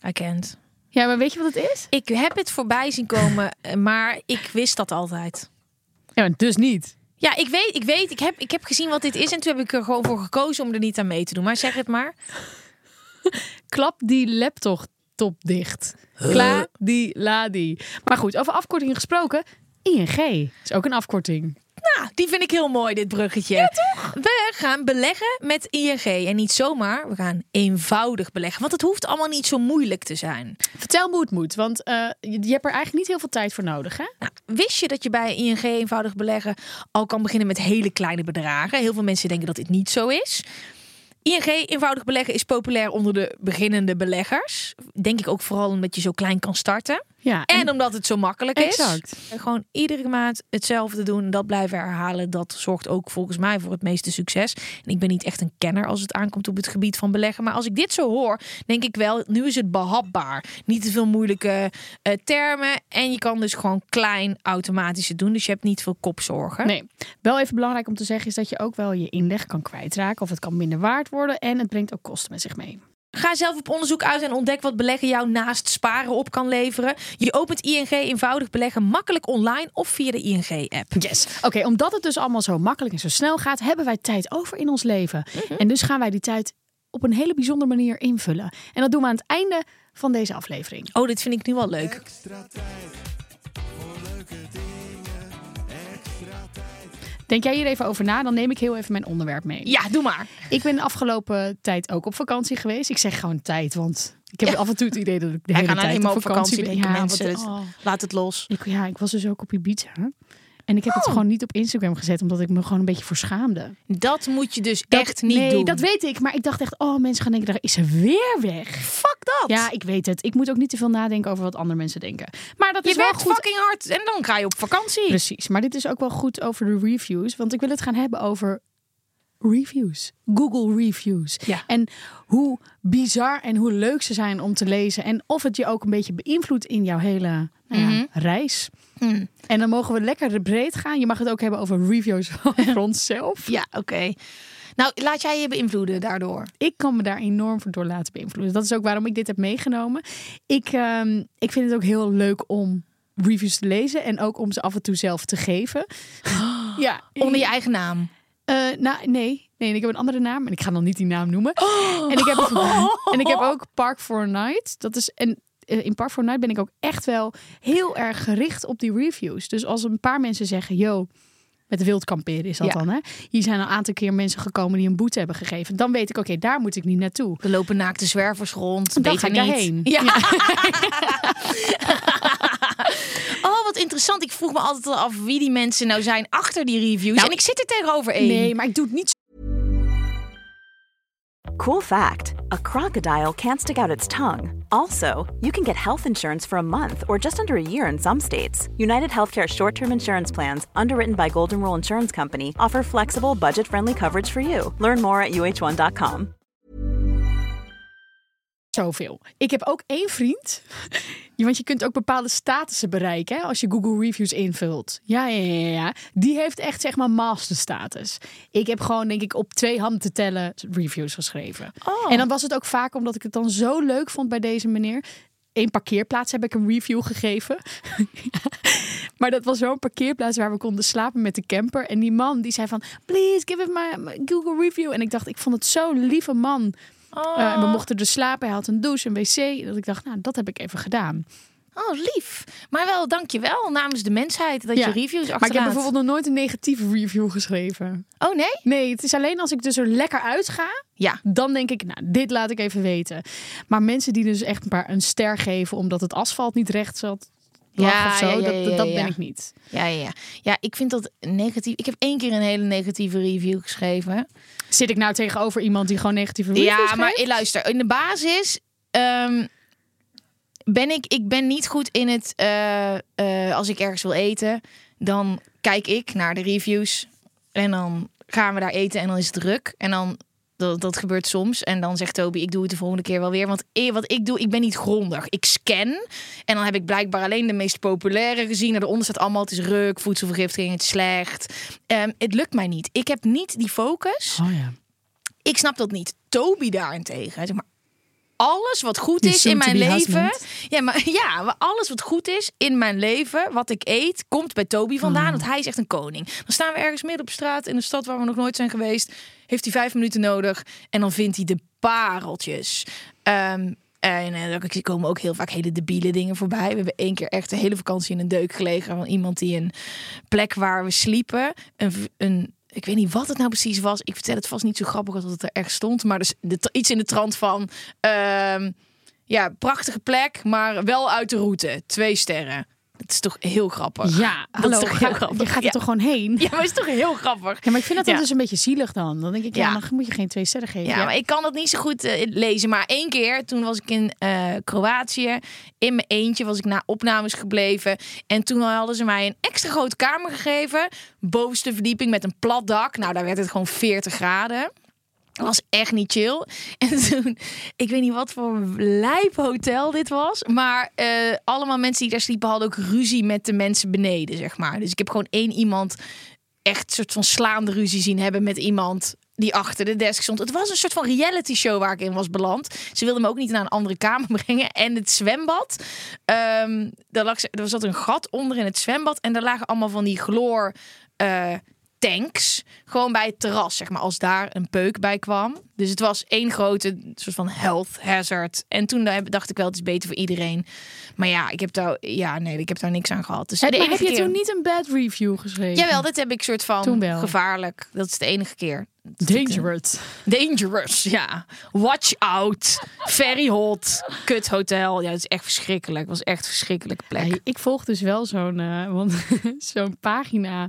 I can't.
ja, maar weet je wat het is?
Ik heb het voorbij zien komen, eh, maar ik wist dat altijd.
Ja, maar dus niet.
Ja, ik weet, ik weet, ik heb, ik heb gezien wat dit is en toen heb ik er gewoon voor gekozen om er niet aan mee te doen. Maar zeg het maar.
klap die laptop top dicht. Klaar die ladi. Maar goed, over afkortingen gesproken. ING is ook een afkorting.
Nou, die vind ik heel mooi, dit bruggetje. Ja, toch? We gaan beleggen met ING. En niet zomaar, we gaan eenvoudig beleggen. Want het hoeft allemaal niet zo moeilijk te zijn.
Vertel me hoe het moet, want eh, je, je hebt er eigenlijk niet heel veel tijd voor nodig, hè?
Nou, wist je dat je bij ING eenvoudig beleggen al kan beginnen met hele kleine bedragen? Heel veel mensen denken dat dit niet zo is. ING eenvoudig beleggen is populair onder de beginnende beleggers. Denk ik ook vooral omdat je zo klein kan starten.
Ja.
En, omdat het zo makkelijk
Exact.
is. En gewoon iedere maand hetzelfde doen en dat blijven herhalen. Dat zorgt ook volgens mij voor het meeste succes. En ik ben niet echt een kenner als het aankomt op het gebied van beleggen. Maar als ik dit zo hoor, denk ik wel, nu is het behapbaar. Niet te veel moeilijke eh, termen. En je kan dus gewoon klein automatisch het doen. Dus je hebt niet veel kopzorgen.
Nee, wel even belangrijk om te zeggen is dat je ook wel je inleg kan kwijtraken of het kan minder waard worden en het brengt ook kosten met zich mee.
Ga zelf op onderzoek uit en ontdek wat beleggen jou naast sparen op kan leveren. Je opent ING eenvoudig beleggen makkelijk online of via de ING-app.
Yes. Oké, omdat het dus allemaal zo makkelijk en zo snel gaat, hebben wij tijd over in ons leven. En dus gaan wij die tijd op een hele bijzondere manier invullen. En dat doen we aan het einde van deze aflevering.
Oh, dit vind ik nu wel leuk.
Denk jij hier even over na, dan neem ik heel even mijn onderwerp mee.
Ja, doe maar.
Ik ben de afgelopen tijd ook op vakantie geweest. Ik zeg gewoon tijd, want ik heb
Ja.
af en toe het idee dat ik de
Wij
hele
gaan
tijd
alleen maar nou op vakantie,
ben.
denken
Ja,
mensen. dus
want- oh.
Laat het los.
ik, ja, ik was dus ook op Ibiza. En ik heb het gewoon niet op Instagram gezet, omdat ik me gewoon een beetje voor schaamde.
Dat moet je dus
Dat-
echt niet
nee,
doen.
dat weet ik. Maar ik dacht echt, oh, mensen gaan denken, daar is ze weer weg.
Fuck dat.
Ja, ik weet het. Ik moet ook niet te veel nadenken over wat andere mensen denken. Maar dat
je
is wel
werkt
goed
fucking hard en dan ga je op vakantie.
Precies, maar dit is ook wel goed over de reviews, want ik wil het gaan hebben over reviews, Google reviews.
Ja.
En hoe bizar en hoe leuk ze zijn om te lezen en of het je ook een beetje beïnvloedt in jouw hele nou ja,
Mhm.
reis.
Mm.
En dan mogen we lekker breed gaan. Je mag het ook hebben over reviews over onszelf.
Ja, oké. Nou, laat jij je beïnvloeden daardoor.
Ik kan me daar enorm voor door laten beïnvloeden. Dat is ook waarom ik dit heb meegenomen. Ik, ehm, ik vind het ook heel leuk om reviews te lezen en ook om ze af en toe zelf te geven. Ja,
Onder je eigen naam.
Eh, nou, nee. Nee, ik heb een andere naam. En ik ga dan niet die naam noemen. En, ik heb, en ik heb ook Park for Night. Dat is, en eh, in Park for Night ben ik ook echt wel heel erg gericht op die reviews. Dus als een paar mensen zeggen, yo, met de wild kamperen is dat
Ja.
dan, hè? Hier zijn een aantal keer mensen gekomen die een boete hebben gegeven. Dan weet ik, oké, daar moet ik niet naartoe.
Er lopen naakte zwervers rond.
Dan
Beter
ga ik
niet.
daarheen.
Ja. oh, wat interessant. Ik vroeg me altijd al af wie die mensen nou zijn achter die reviews. en ik zit er tegenover één.
Nee, maar ik doe het niet
Cool fact a crocodile can't stick out its tongue. Also, you can get health insurance for a month or just under a year in some states. United Healthcare short term insurance plans, underwritten by Golden Rule Insurance Company, offer flexible, budget friendly coverage for you. Learn more at uh1.com.
zoveel. Ik heb ook één vriend. Ja, Want je kunt ook bepaalde statussen bereiken hè, als je Google Reviews invult. Ja, ja, ja, ja. Die heeft echt zeg maar master status. Ik heb gewoon denk ik op twee handen te tellen reviews geschreven.
Oh.
En dan was het ook vaak omdat ik het dan zo leuk vond bij deze meneer. Eén parkeerplaats heb ik een review gegeven. Maar dat was zo'n parkeerplaats waar we konden slapen met de camper. En die man die zei van, please give it my my Google review. En ik dacht, ik vond het zo'n lieve man.
Oh,
Eh, en we mochten dus slapen. Hij had een douche, een wc. Dat ik dacht, nou, dat heb ik even gedaan.
oh, lief. Maar wel, dankjewel namens de mensheid dat
Ja.
je reviews achterlaat.
Maar ik heb bijvoorbeeld nog nooit een negatieve review geschreven.
Oh, nee?
Nee, het is alleen als ik dus er lekker uit ga.
Ja.
Dan denk ik, nou, dit laat ik even weten. Maar mensen die dus echt maar een ster geven omdat het asfalt niet recht zat. lag
Ja,
of zo,
ja, ja,
dat,
ja,
dat
ja.
ben ik niet.
Ja, ja, ja. Ja, ik vind dat negatief. Ik heb één keer een hele negatieve review geschreven.
Zit ik nou tegenover iemand die gewoon negatieve reviews
ja,
geeft?
maar eh, luister, in de basis ehm, ben ik, ik ben niet goed in het, eh, eh, als ik ergens wil eten, dan kijk ik naar de reviews en dan gaan we daar eten en dan is het druk en dan, dat, dat gebeurt soms en dan zegt Toby, ik doe het de volgende keer wel weer, want eh, wat ik doe, ik ben niet grondig. Ik scan en dan heb ik blijkbaar alleen de meest populaire gezien en eronder staat allemaal, het is ruk, voedselvergiftiging, het is slecht. Ehm, het lukt mij niet. Ik heb niet die focus
Oh ja.
ik snap dat niet. Toby daarentegen, zeg maar, alles wat goed
Je
is in mijn
soon-to-be
leven.
husband.
Ja, maar ja, maar alles wat goed is in mijn leven, wat ik eet, komt bij Toby vandaan. Want hij is echt een koning. Dan staan we ergens midden op straat in een stad waar we nog nooit zijn geweest. Heeft hij vijf minuten nodig en dan vindt hij de pareltjes. Ehm, en eh, er komen ook heel vaak hele debiele dingen voorbij. We hebben één keer echt de hele vakantie in een deuk gelegen van iemand die een plek waar we sliepen. Een, v- een, ik weet niet wat het nou precies was. Ik vertel het vast niet zo grappig als dat het er echt stond. Maar dus de, tra- iets in de trant van. ehm, ja, prachtige plek, maar wel uit de route. Twee sterren. Het is toch heel grappig.
Ja,
dat
hallo,
is toch
ga-
heel grappig.
je gaat er
ja.
toch gewoon heen?
Ja, maar het is toch heel grappig.
Ja, maar ik vind dat dan
Ja.
dus een beetje zielig dan. Dan denk ik, ja,
Ja.
dan moet je geen twee sterren geven.
Ja, maar ik kan dat niet zo goed eh, lezen. Maar één keer, toen was ik in eh, Kroatië. In mijn eentje was ik na opnames gebleven. En toen hadden ze mij een extra grote kamer gegeven. Bovenste verdieping met een plat dak. Nou, daar werd het gewoon 40 graden. Dat was echt niet chill. En toen, ik weet niet wat voor lijp hotel dit was. Maar eh, allemaal mensen die daar sliepen hadden ook ruzie met de mensen beneden, zeg maar. Dus ik heb gewoon één iemand echt soort van slaande ruzie zien hebben met iemand die achter de desk stond. Het was een soort van reality show waar ik in was beland. Ze wilden me ook niet naar een andere kamer brengen. En het zwembad, ehm, daar lag, ze- er zat een gat onder in het zwembad. En daar lagen allemaal van die chloor... eh, tanks. Gewoon bij het terras, zeg maar, als daar een peuk bij kwam. Dus het was één grote soort van health hazard. En toen daar- dacht ik wel, het is beter voor iedereen. Maar ja, ik heb daar, ja, nee, ik heb daar niks aan gehad. Dus
Heb,
de
maar
enige
heb je
keer-
toen niet een bad review geschreven?
Jawel, dat heb ik soort van
Toen wel.
gevaarlijk. Dat is de enige keer.
Dangerous.
Dangerous, ja. Watch out. Very hot. Kut hotel. Ja, het is echt verschrikkelijk. Het was echt een verschrikkelijke plek.
Hey, ik volg dus wel zo'n eh, want zo'n pagina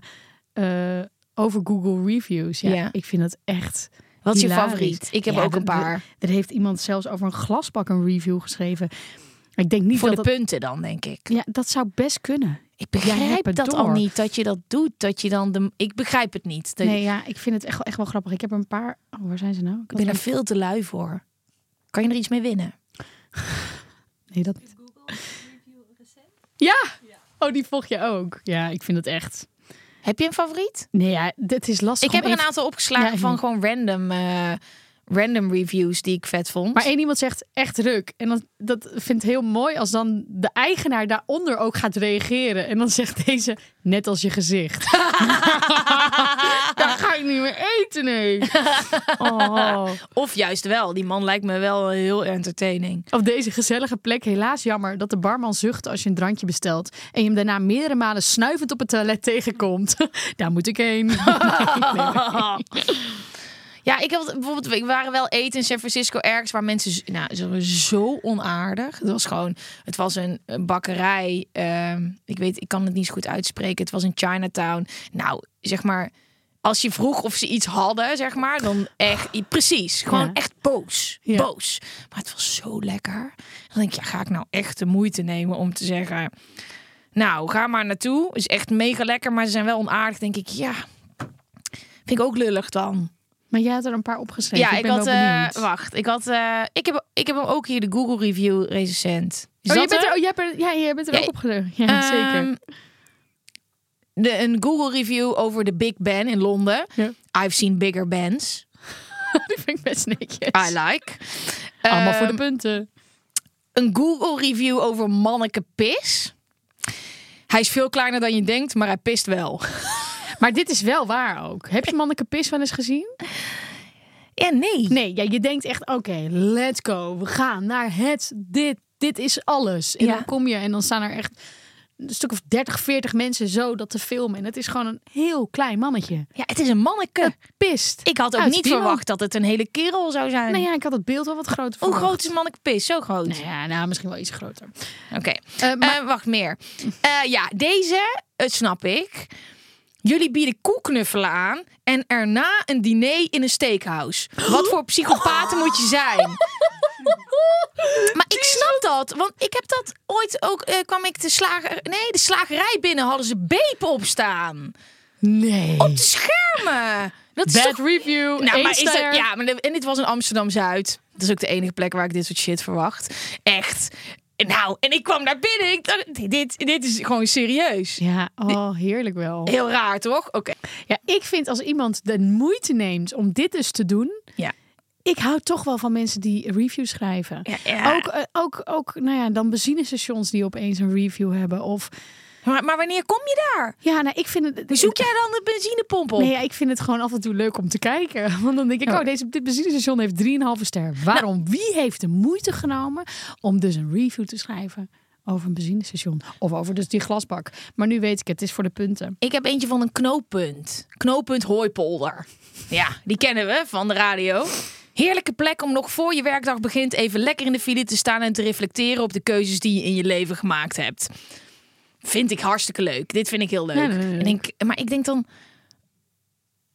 eh, over Google Reviews. Ja,
Ja.
ik vind dat echt.
Wat is je
hilarisch.
favoriet? Ik heb ook een
dat-
paar.
Er heeft iemand zelfs over een glasbak een review geschreven. Ik denk niet
Voor de
dat dat,
punten dan, denk ik.
ja, dat zou best kunnen.
Ik
Jij hebt
begrijp
het
dat al
door.
niet, dat je dat doet. Dat je dan de... Ik begrijp het niet. Dat-
Nee, ja, ik vind het echt, wel- echt wel grappig. Ik heb er een paar. Oh, waar zijn ze nou? Ik
Ik
had
ben er
een-
veel te lui voor. Kan je er iets mee winnen?
Nee, dat niet. Ja! Oh, die volg je ook. Ja, ik vind het echt.
Heb je een favoriet?
Nee, ja, dit is lastig.
Ik heb
om
er een
even-
aantal opgeslagen
Ja, ik
van
niet.
gewoon random, eh, random reviews die ik vet vond.
Maar één iemand zegt echt druk. En dat, dat vindt heel mooi als dan de eigenaar daaronder ook gaat reageren. En dan zegt deze, net als je gezicht. Daar ga ik niet meer eten, nee. Oh.
Of juist wel. Die man lijkt me wel heel entertaining.
Op deze gezellige plek helaas jammer dat de barman zucht als je een drankje bestelt. En je hem daarna meerdere malen snuivend op het toilet tegenkomt. Daar moet ik heen.
Ja, ik had bijvoorbeeld, we waren wel eten in San Francisco ergens waar mensen, z- nou, ze waren zo onaardig. Het was gewoon, het was een, een bakkerij. ehm, ik weet, ik kan het niet zo goed uitspreken. Het was in Chinatown. Nou, zeg maar, als je vroeg of ze iets hadden, zeg maar, dan echt, i- precies, gewoon
Ja.
echt boos,
Ja.
boos. Maar het was zo lekker. Dan denk ik, ja, ga ik nou echt de moeite nemen om te zeggen, nou, ga maar naartoe. Is echt mega lekker, maar ze zijn wel onaardig. Denk ik, ja. Vind ik ook lullig dan.
Maar jij had er een paar opgeschreven.
Ja,
ik
ik,
ben
had.
wel
eh,
benieuwd.
wacht, ik had. eh, ik, heb, ik heb hem ook hier, de Google Review recent. Is
Oh, je
dat
bent
er?
er, oh, jij bent er, ja, jij bent er
Ja,
ook opgeschreven. Ja, zeker.
Ehm, de, een Google Review over de Big Ben in Londen.
Ja.
I've seen bigger bands.
Die vind ik best netjes.
I like.
Allemaal voor
Ehm,
de punten.
een Google review over manneke pis. Hij is veel kleiner dan je denkt, maar hij pist wel.
Maar dit is wel waar ook. Heb je manneke pis wel eens gezien?
Ja, nee.
Nee, ja, je denkt echt, oké, let's go. We gaan naar het, dit, dit is alles. En
Ja.
dan kom je en dan staan er echt een stuk of 30, 40 mensen zo dat te filmen. En het is gewoon een heel klein mannetje.
Ja, het is een manneke.
Pist. Nou,
Ik had ook
Uit
niet
Dino.
verwacht dat het een hele kerel zou zijn.
Nou ja, ik had het beeld wel wat groter
Hoe
verwacht.
groot is manneke pis? Zo groot.
Nou ja, nou, misschien wel iets groter.
Oké.
Eh, maar
Eh, wacht, meer. Eh, ja, deze, het snap ik. Jullie bieden koeknuffelen aan en erna een diner in een steakhouse. Wat voor psychopaten moet je zijn? Maar ik snap dat, want ik heb dat ooit ook. eh, kwam ik de slager, nee, de slagerij binnen, hadden ze beep op staan.
nee.
Op de schermen. Dat is
Bad
toch-
review.
nou,
één
maar is dat,
ster.
ja, maar de- en dit was in Amsterdam Zuid. Dat is ook de enige plek waar ik dit soort shit verwacht. Echt. Nou, en ik kwam daar binnen. Ik dacht, dit- dit, dit is gewoon serieus.
Ja, oh, heerlijk wel.
Heel raar, toch? Oké.
Ja, ik vind als iemand de moeite neemt om dit dus te doen,
Ja.
ik hou toch wel van mensen die reviews schrijven.
Ja, ja.
Ook, eh, ook, ook, nou ja, dan benzinestations die opeens een review hebben. Of
Maar, maar wanneer kom je daar?
ja, nou, ik vind het.
Zoek jij dan de benzinepomp op?
Nee, ja, ik vind het gewoon af en toe leuk om te kijken. Want dan denk ik, oh, deze, dit benzinestation heeft 3,5 ster.
Nou-
Waarom? Wie heeft de moeite genomen om dus een review te schrijven over een benzinestation? Of over dus die glasbak. Maar nu weet ik het, het is voor de punten.
Ik heb eentje van een knooppunt. Knooppunt Hooipolder. Ja, die kennen we van de radio. Heerlijke plek om nog voor je werkdag begint even lekker in de file te staan en te reflecteren op de keuzes die je in je leven gemaakt hebt. Vind ik hartstikke leuk. Dit vind ik heel leuk.
Ja, dat is leuk.
En ik, maar ik denk dan.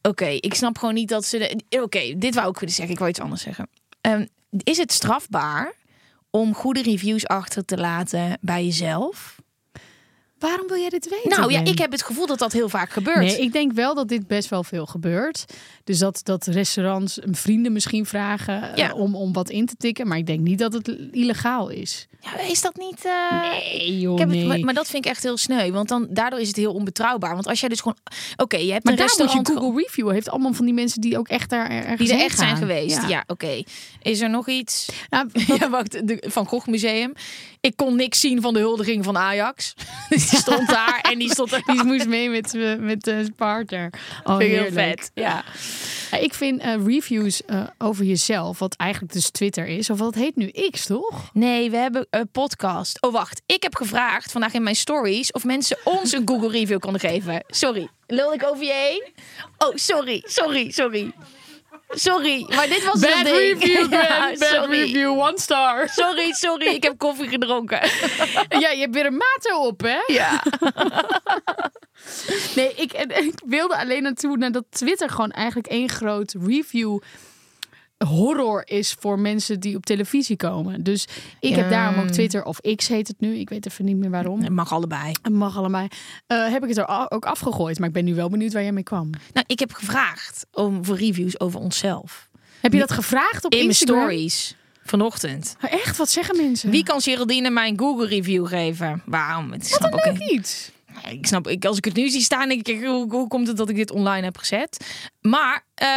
Oké, ik snap gewoon niet dat ze. de- eh, Oké, dit wou ik willen zeggen. Ik wou iets anders zeggen. Ehm, is het strafbaar om goede reviews achter te laten bij jezelf?
Waarom wil jij dit weten?
Nou ja,
Ben?
ik heb het gevoel dat dat heel vaak gebeurt.
Nee, ik denk wel dat dit best wel veel gebeurt. Dus dat, dat restaurants een vrienden misschien vragen eh,
Ja.
om, om wat in te tikken. Maar ik denk niet dat het illegaal is.
Ja, is dat niet. eh,
Nee, joh,
ik heb
nee.
het, maar, maar dat vind ik echt heel sneu. Want dan, daardoor is het heel onbetrouwbaar. Want als jij dus gewoon. Oké, je hebt
Maar
een
daar moet je
restaurant
Google Review heeft allemaal van die mensen die ook echt daar er,
ge- die er
heen
echt zijn
gaan.
geweest. Ja, oké. Is er nog iets?
Nou,
Ja, wacht, de Van Gogh Museum. Ik kon niks zien van de huldiging van Ajax. Dus die stond daar en die stond er.
die moest mee met, eh, met eh, zijn partner. Oh,
Vind ik heel
heerlijk.
vet. Ja.
Ja, ik vind eh, reviews eh, over jezelf, wat eigenlijk dus Twitter is, of wat heet nu X, toch?
Nee, we hebben een podcast. Oh, wacht. Ik heb gevraagd vandaag in mijn stories of mensen ons een Google review konden geven. Sorry. Lul ik over je heen? Oh, sorry. Sorry, sorry. Sorry, maar dit was een ding. Ja, sorry.
one star.
Sorry, sorry. Ik heb koffie gedronken.
Ja, je hebt weer een mato op, hè?
Ja.
Nee, ik, en- en ik wilde alleen naartoe naar dat Twitter gewoon eigenlijk één groot review horror is voor mensen die op televisie komen. Dus ik heb
Ja.
daarom ook Twitter of X heet het nu. Ik weet even niet meer waarom.
Het mag allebei.
Het mag allemaal. Eh, heb ik het er a- ook afgegooid, maar ik ben nu wel benieuwd waar jij mee kwam.
Nou, ik heb gevraagd om voor reviews over onszelf.
Heb je dat gevraagd op
In mijn
Instagram?
stories. Vanochtend.
Maar echt, wat zeggen mensen?
Wie kan Geraldine mijn Google review geven? Waarom? Het snap ik
Leuk
niet.
iets.
Ik snap, ik, als ik het nu zie staan, denk ik, hoe, hoe komt het dat ik dit online heb gezet? Maar eh,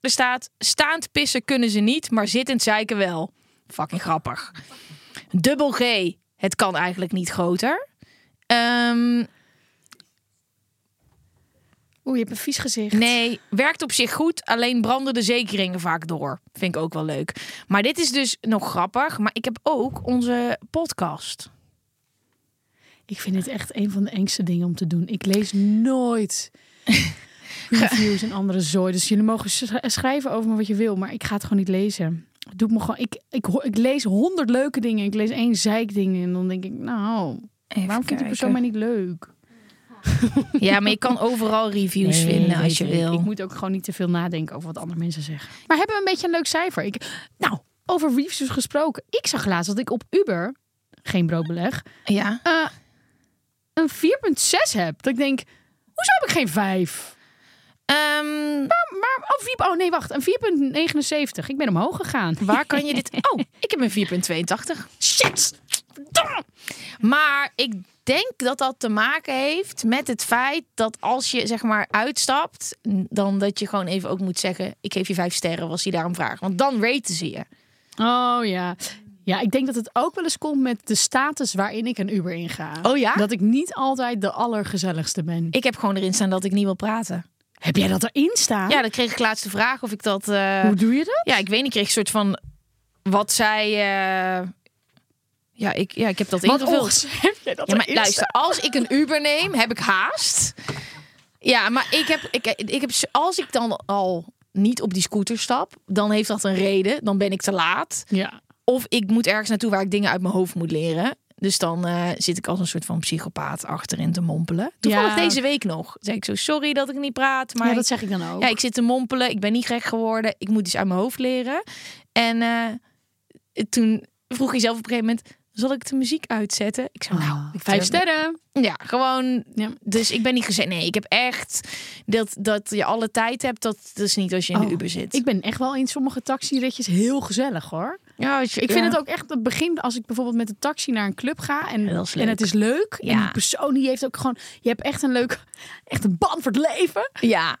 er staat, staand pissen kunnen ze niet, maar zittend zeiken wel. Fucking grappig. Dubbel G, het kan eigenlijk niet groter. Ehm,
Oeh, je hebt een vies gezicht.
nee, werkt op zich goed, alleen branden de zekeringen vaak door. Vind ik ook wel leuk. Maar dit is dus nog grappig, maar ik heb ook onze podcast.
Ik vind dit echt een van de engste dingen om te doen. Ik lees nooit reviews en andere zooi. Dus jullie mogen sch- schrijven over me wat je wil, maar ik ga het gewoon niet lezen. Het doet me gewoon. Ik, ik, ho- ik lees honderd leuke dingen. Ik lees één zeikding. En dan denk ik, nou,
Even
waarom vindt die persoon
kijken.
mij niet leuk?
Ja, maar je kan overal reviews vinden als je
weet ik.
wil.
Ik moet ook gewoon niet te veel nadenken over wat andere mensen zeggen. Maar hebben we een beetje een leuk cijfer? Ik, nou, over reviews gesproken. Ik zag laatst dat ik op Uber, geen broodbeleg,
Ja.
eh, een 4.6 heb. Dat ik denk, hoezo heb ik geen 5?
Ehm,
Maar, oh, vier- oh nee, wacht, een 4.79. Ik ben omhoog gegaan.
Waar kan je dit? Oh, ik heb een 4,82.
Shit!
Verdomme! Maar ik denk dat dat te maken heeft met het feit dat als je zeg maar uitstapt, dan dat je gewoon even ook moet zeggen: ik geef je vijf sterren, was die daarom vraag. Want dan raten ze je.
Oh ja. Ja, ik denk dat het ook wel eens komt met de status waarin ik een Uber inga.
Oh ja?
Dat ik niet altijd de allergezelligste ben.
Ik heb gewoon erin staan dat ik niet wil praten.
Heb jij dat erin staan?
Ja, dan kreeg ik laatst de vraag of ik dat... eh,
Hoe doe je dat?
ja, ik weet niet, ik kreeg een soort van... Wat zij... eh, ja, ik, ja, ik heb dat
Wat
ingevuld.
ons heb jij dat
Ja, maar
erin
luister, als ik een Uber neem, heb ik haast. Ja, maar ik heb, ik, ik heb, als ik dan al niet op die scooter stap, dan heeft dat een reden. Dan ben ik te laat.
staan? Ja.
Of ik moet ergens naartoe waar ik dingen uit mijn hoofd moet leren. Dus dan eh, zit ik als een soort van psychopaat achterin te mompelen. Toevallig
Ja.
deze week nog. Zeg ik zo, sorry dat ik niet praat. Maar
ja, dat zeg ik dan ook.
ja, ik zit te mompelen. Ik ben niet gek geworden. Ik moet iets uit mijn hoofd leren. En eh, toen vroeg hij zelf op een gegeven moment... Zal ik de muziek uitzetten? Ik zei, nou, ik
Vijf sterren.
Ja, gewoon...
Ah, Ja.
Dus ik ben niet gezegd... Nee, ik heb echt... Dat, dat je alle tijd hebt, dat, dat is niet als je in
Oh,
de Uber zit.
Ik ben echt wel in sommige taxiritjes heel gezellig hoor.
ja, als je-
Ik vind
ja.
het ook echt het begin als ik bijvoorbeeld met de taxi naar een club ga en,
dat is
en
leuk.
het is leuk. En
Ja.
die persoon die heeft ook gewoon, je hebt echt een leuk, echt een band voor het leven.
Ja.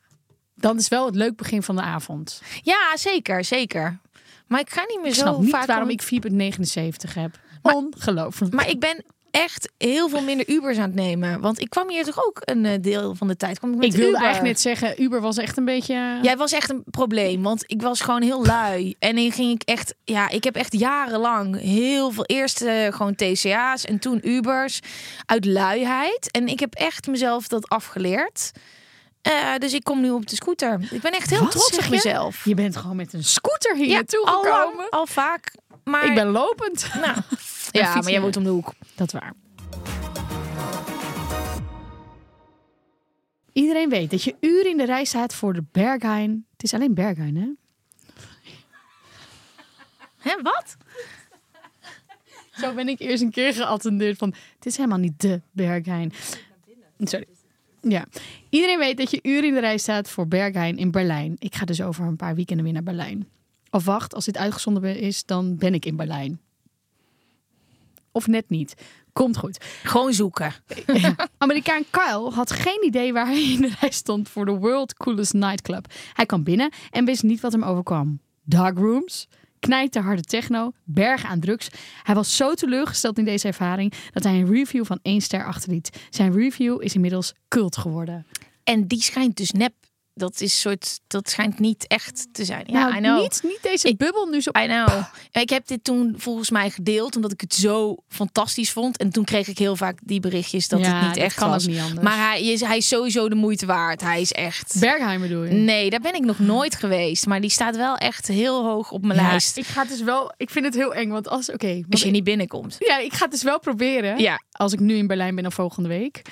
Dan is wel het leuk begin van de avond.
ja, zeker, zeker. Maar ik ga niet meer
Ik
zo
snap niet
vaak...
waarom
om-
ik 4,79 heb. Ongelooflijk.
Maar ik ben echt heel veel minder Ubers aan het nemen. Want ik kwam hier toch ook een eh, deel van de tijd. Kwam ik met
ik wilde
Uber.
eigenlijk net zeggen, Uber was echt een beetje...
Jij was echt een probleem, want ik was gewoon heel lui. En dan ging ik echt, ja, ik heb echt jarenlang heel veel eerst eh, gewoon TCA's en toen Ubers uit luiheid. En ik heb echt mezelf dat afgeleerd. Eh, dus ik kom nu op de scooter. Ik ben echt heel
Wat
trots
zeg
op
je?
mezelf.
Je bent gewoon met een scooter hier
Ja,
naartoe
al lang,
gekomen.
Al vaak. Maar
Ik ben lopend.
Nou,
fiets
ja, maar
niet.
jij woont om de hoek.
Dat is waar. Iedereen weet dat je uren in de rij staat voor de Berghain. Het is alleen Berghain, hè?
Hè, wat?
Zo ben ik eerst een keer geattendeerd van... Het is helemaal niet de Berghain. Sorry. Ja. Iedereen weet dat je uren in de rij staat voor Berghain in Berlijn. Ik ga dus over een paar weekenden weer naar Berlijn. Of wacht, als dit uitgezonden is, dan ben ik in Berlijn. Of net niet. Komt goed.
Gewoon zoeken.
Amerikaan Kyle had geen idee waar hij in de rij stond voor de World Coolest Nightclub. Hij kwam binnen en wist niet wat hem overkwam. Dark rooms, knijten harde techno, bergen aan drugs. Hij was zo teleurgesteld in deze ervaring dat hij een review van één ster achterliet. Zijn review is inmiddels cult geworden.
En die schijnt dus nep. Dat is soort, dat schijnt niet echt te zijn. Ja, I
nou,
know.
niet, niet deze bubbel nu zo...
I know. Ik heb dit toen volgens mij gedeeld omdat ik het zo fantastisch vond. En toen kreeg ik heel vaak die berichtjes dat
Ja,
het niet
dat
echt
kan ook
was.
niet anders.
maar hij is, hij is sowieso de moeite waard. Hij is echt.
Bergheim bedoel je?
Nee, daar ben ik nog nooit geweest. Maar die staat wel echt heel hoog op mijn
Ja,
lijst.
ik ga het dus wel... Ik vind het heel eng, want als... Oké, want
Als je niet binnenkomt.
Ja, ik ga het dus wel proberen.
Ja.
Als ik nu in Berlijn ben of volgende week.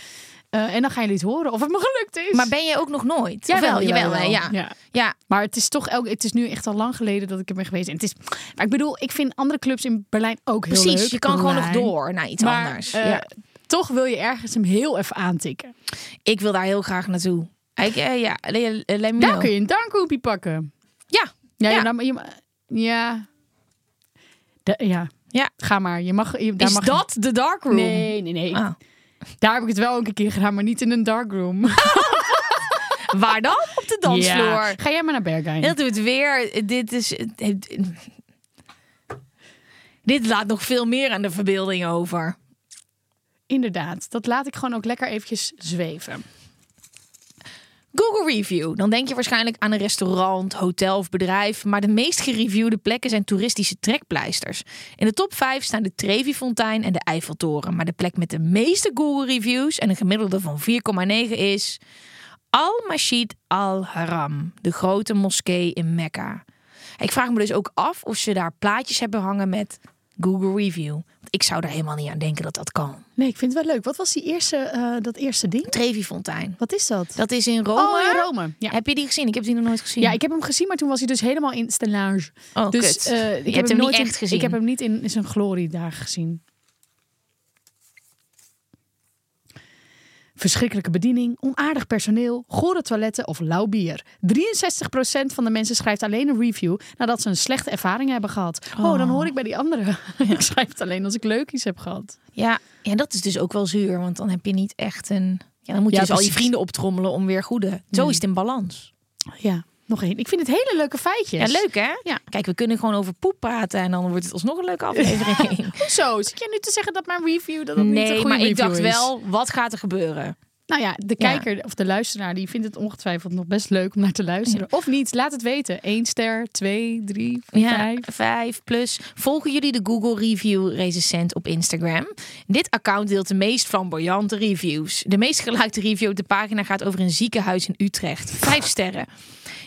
Eh, en dan gaan jullie het horen of het me gelukt is.
Maar ben je ook nog nooit?
Jawel,
Jawel, jawel,
jawel,
hè, Ja.
ja.
Ja.
Maar het is toch elk, het is nu echt al lang geleden dat ik er ben geweest. En het is, maar ik bedoel, ik vind andere clubs in Berlijn ook heel leuk.
precies. je kan gewoon nog
Berlijn.
door naar iets
Maar,
anders.
eh,
ja.
Toch wil je ergens hem heel even aantikken.
Ik wil daar heel graag naartoe. Ik, eh, ja, let me
Daar
know.
kun je een dankhoepie pakken.
Ja.
Ja,
Ja.
Je, nam- je ma- ja. Da- ja.
Ja.
Ga maar. Je mag, je, daar
Is
mag
dat de dark room?
Nee, nee, nee.
Ah.
Daar heb ik het wel ook een keer gedaan, maar niet in een darkroom.
Waar dan? Op de dansvloer.
Ja. Ga jij maar naar Berghain.
Dat doet weer. Dit is. Dit laat nog veel meer aan de verbeelding over.
Inderdaad. Dat laat ik gewoon ook lekker eventjes zweven.
Google Review. Dan denk je waarschijnlijk aan een restaurant, hotel of bedrijf. Maar de meest gereviewde plekken zijn toeristische trekpleisters. In de top 5 staan de Trevi-fontein en de Eiffeltoren. Maar de plek met de meeste Google Reviews en een gemiddelde van 4,9 is. Al-Masjid al-Haram, de grote moskee in Mekka. Ik vraag me dus ook af of ze daar plaatjes hebben hangen met Google Review. Want Ik zou daar helemaal niet aan denken dat dat kan.
Nee, ik vind het wel leuk. Wat was die eerste, eh, dat eerste ding?
Trevi-fontein.
Wat is dat?
Dat is in Rome.
Oh, in Rome, ja.
Heb je die gezien? Ik heb die nog nooit gezien.
Ja, ik heb hem gezien, maar toen was hij dus helemaal in stellage.
Oh,
dus
kut.
eh,
Je
ik
hebt
heb
hem niet
nooit in-
echt gezien.
Ik heb hem niet in zijn gloriedagen gezien. Verschrikkelijke bediening, onaardig personeel, gore toiletten of lauw bier. 63% van de mensen schrijft alleen een review nadat ze een slechte ervaring hebben gehad. Oh, dan hoor ik bij die anderen. ik schrijf het alleen als ik leuk iets heb gehad.
Ja, ja, dat is dus ook wel zuur, want dan heb je niet echt een. Ja, Mm. dan moet je
Ja,
dus al je
precies.
vrienden optrommelen om weer goede. Zo is het in balans.
Ja, nog één. Ik vind het hele leuke feitjes.
Ja, leuk hè?
Ja.
Kijk, we kunnen gewoon over poep praten en dan wordt het alsnog een leuke aflevering.
Zo, zit jij nu te zeggen dat mijn review dat dat niet een
nee,
goede
maar ik
review
dacht
is?
wel, wat gaat er gebeuren?
Nou ja, de
Ja.
kijker of de luisteraar die vindt het ongetwijfeld nog best leuk om naar te luisteren. Of niet, laat het weten. Eén ster, twee, drie,
Ja,
vijf.
vijf plus. Volgen jullie de Google Review Recensent op Instagram? Dit account deelt de meest flamboyante reviews. De meest gelikte review op de pagina gaat over een ziekenhuis in Utrecht. Vijf sterren.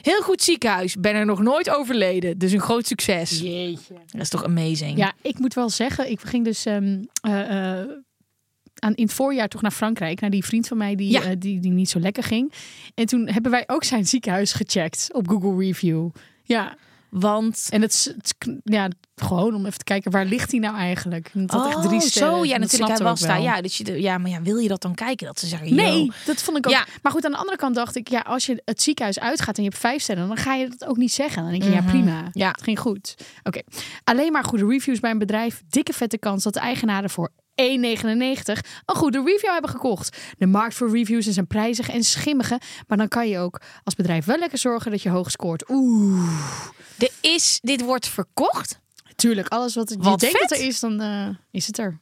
Heel goed ziekenhuis. Ben er nog nooit overleden. Dus een groot succes. Dat is toch amazing?
Ja, ik moet wel zeggen, ik ging dus ehm, eh, eh, aan, in het voorjaar toch naar Frankrijk. Naar die vriend van mij die,
Ja.
eh, die, die niet zo lekker ging. En toen hebben wij ook zijn ziekenhuis gecheckt op Google Review. Ja,
Want...
en het, is- het is kn- ja, gewoon om even te kijken, waar ligt hij nou eigenlijk? Dat had echt
Oh,
drie sterren.
zo.
En
Ja,
dat
natuurlijk. Hij
snapte
was
ik ook
daar.
wel.
Ja, dat je, de- ja, maar ja, wil je dat dan kijken? Dat ze zeggen,
Nee,
yo.
dat vond ik ook.
Ja.
Maar goed, aan de andere kant dacht ik, ja, als je het ziekenhuis uitgaat en je hebt vijf sterren, dan ga je dat ook niet zeggen. Dan denk je, ja, prima.
Mhm. Ja.
Het ging goed. Oké. Alleen maar goede reviews bij een bedrijf. Dikke vette kans dat de eigenaren voor 1,99 een goede review hebben gekocht. De markt voor reviews is een prijzige en schimmige. Maar dan kan je ook als bedrijf wel lekker zorgen dat je hoog scoort. Oeh.
Er is, dit wordt verkocht.
Tuurlijk, alles wat, je
Wat
denkt dat
vet.
er is, dan eh, is het er.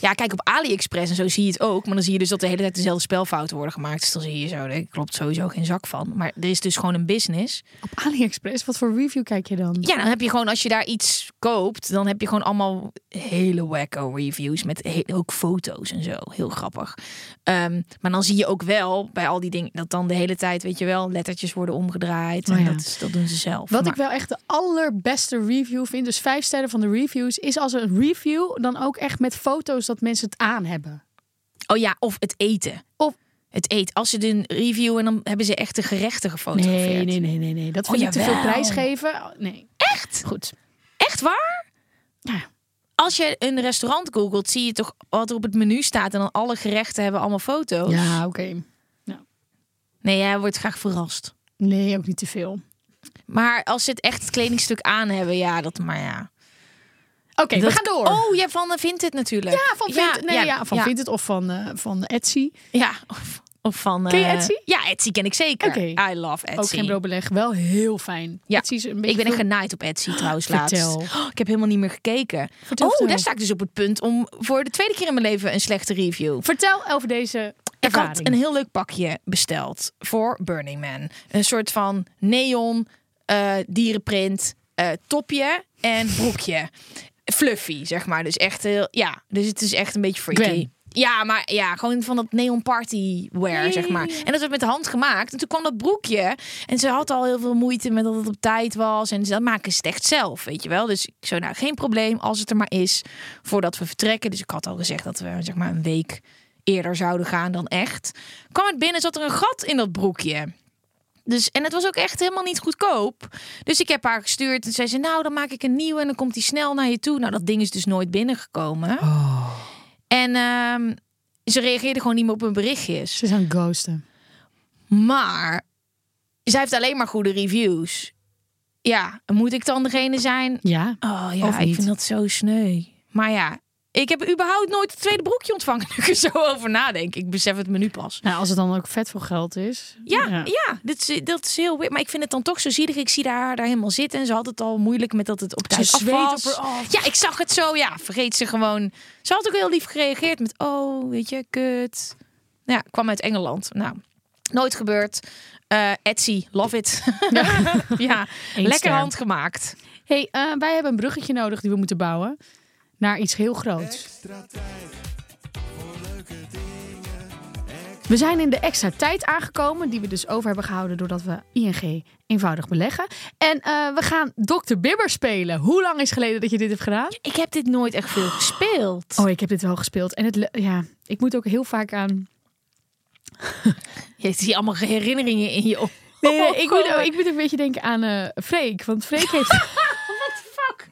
Ja, kijk op AliExpress en zo zie je het ook. Maar dan zie je dus dat de hele tijd dezelfde spelfouten worden gemaakt. Dus dan zie je zo, daar klopt sowieso geen zak van. Maar er is dus gewoon een business.
Op AliExpress, wat voor review kijk je dan?
Ja, dan heb je gewoon, als je daar iets koopt, dan heb je gewoon allemaal hele wacko reviews. Met he- ook foto's en zo. Heel grappig. Ehm, maar dan zie je ook wel bij al die dingen, dat dan de hele tijd, weet je wel, lettertjes worden omgedraaid.
Oh
en
ja.
dat, is, dat doen ze zelf.
Wat
Maar-
ik wel echt de allerbeste review vind, dus vijf sterren van de reviews, is als een review dan ook echt met foto's dat mensen het aan hebben.
Oh ja, of het eten.
Of-
het eten. Als ze een review en dan hebben ze echt de gerechten gefotografeerd.
nee, nee, nee. Dat
Oh,
vind ik te veel
jawel.
prijs geven. Nee.
Echt?
Goed.
Echt waar?
Ja.
Als je een restaurant googelt, zie je toch wat er op het menu staat. En dan alle gerechten hebben allemaal foto's.
Ja, oké.
Nee, jij wordt graag verrast.
Nee, ook niet te veel. Oké,
Maar als ze het echt het kledingstuk aan hebben, ja, dat maar ja.
we
Dat-
gaan door.
Oh, ja, van vindt het natuurlijk.
ja, van Vinted. nee, ja, van Vinted of van, eh, van Etsy.
Ja, of, of van...
Ken je
eh,
Etsy?
Ja, Etsy ken ik zeker.
Oké.
I love Etsy.
Ook geen broodbeleg. Wel heel fijn.
Ja,
Etsy is een beetje
ik ben echt
veel-
genaaid op Etsy trouwens laatst.
Vertel.
Oh, ik heb helemaal niet meer gekeken.
Vertel,
oh,
vertel.
daar sta ik dus op het punt om voor de tweede keer in mijn leven een slechte review.
Vertel over deze
Ik had
ervaring.
een heel leuk pakje besteld voor Burning Man. Een soort van neon, eh, dierenprint, eh, topje en broekje. Fluffy, zeg maar. Dus echt heel, ja, dus het is echt een beetje freaky.
Gwen.
Ja, maar ja, gewoon van dat neon party wear, zeg maar. En dat werd met de hand gemaakt. En toen kwam dat broekje. En ze had al heel veel moeite met dat het op tijd was. En ze dat maken ze het echt zelf, weet je wel. Dus ik zo, nou, geen probleem als het er maar is voordat we vertrekken. Dus ik had al gezegd dat we zeg maar een week eerder zouden gaan dan echt. Kwam het binnen, zat er een gat in dat broekje. Dus, en het was ook echt helemaal niet goedkoop. Dus ik heb haar gestuurd. En zei ze, nou, dan maak ik een nieuwe en dan komt die snel naar je toe. Nou, dat ding is dus nooit binnengekomen.
Oh.
En ehm, ze reageerde gewoon niet meer op mijn berichtjes.
Ze zijn ghosten.
Maar zij heeft alleen maar goede reviews. Ja, moet ik dan degene zijn?
Ja.
Oh ja,
Of
ik
niet.
vind dat zo sneu. Maar ja, ik heb überhaupt nooit het tweede broekje ontvangen. Nu ik er zo over nadenk. Ik besef het me nu pas.
Nou, als het dan ook vet veel geld is.
Ja, ja. dit is, dat is heel weird. Maar ik vind het dan toch zo zielig. Ik zie haar daar helemaal zitten. En ze had het al moeilijk met dat het op tijd af
zweet op
was.
haar af.
Ja, ik zag het zo. Ja, vergeet ze gewoon. Ze had ook heel lief gereageerd met... Oh, weet je, kut. Ja, kwam uit Engeland. Nou, nooit gebeurd. Eh, Etsy, love it. Ja, lekker
ster.
handgemaakt.
Hey, eh, wij hebben een bruggetje nodig die we moeten bouwen naar iets heel groots. We zijn in de extra tijd aangekomen, die we dus over hebben gehouden doordat we ING eenvoudig beleggen. En eh, we gaan Dr. Bibber spelen. Hoe lang is geleden dat je dit hebt gedaan?
Ik heb dit nooit echt veel gespeeld.
Oh, ik heb dit wel gespeeld. En het, le- ja, ik moet ook heel vaak aan
Je ziet allemaal herinneringen in je op.
Nee, nee, ik, moet, ook- ik moet ook een beetje denken aan eh Freek. Want Freek heeft. What the fuck?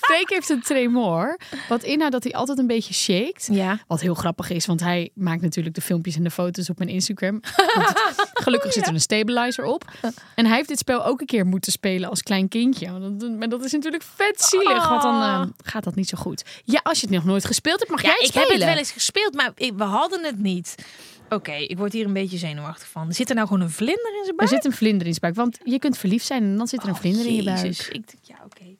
Freek heeft een tremor. Wat inhoudt dat hij altijd een beetje shakes.
Ja.
Wat heel grappig is, want hij maakt natuurlijk de filmpjes en de foto's op mijn Instagram. Want gelukkig zit er een stabilizer op. En hij heeft dit spel ook een keer moeten spelen als klein kindje. Want dat- Maar dat is natuurlijk vet zielig, want dan eh, gaat dat niet zo goed. Ja, als je het nog nooit gespeeld hebt, mag
Oh. Ja,
jij
ik
het spelen.
heb het wel eens gespeeld, maar ik- we hadden het niet. Oké, ik word hier een beetje zenuwachtig van. Zit er nou gewoon een vlinder in zijn
Er
buik?
zit een vlinder in zijn buik, want je kunt verliefd zijn en dan zit er een vlinder in je
Oh, Jezus,
buik.
ik denk, ja, oké.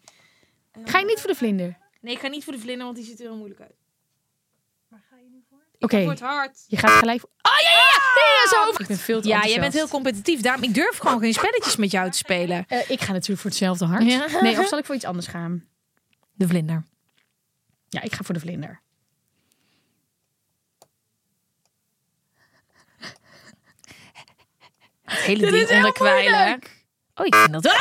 Ga je niet voor de vlinder?
Nee, ik ga niet voor de vlinder, want die ziet er heel moeilijk uit.
Oké,
wordt hard.
je gaat gelijk...
Oh ja, ja, ja. ja, zo
Ik ben veel te
Ja, jij
enthousiast.
bent heel competitief. Daarom, ik durf gewoon geen spelletjes met jou te spelen.
Eh, ik ga natuurlijk voor hetzelfde hart.
Ja.
Nee, of zal ik voor iets anders gaan?
De vlinder.
Ja, ik ga voor de vlinder.
Het hele ding onder kwijlen. Oh, ik vind dat... Ah!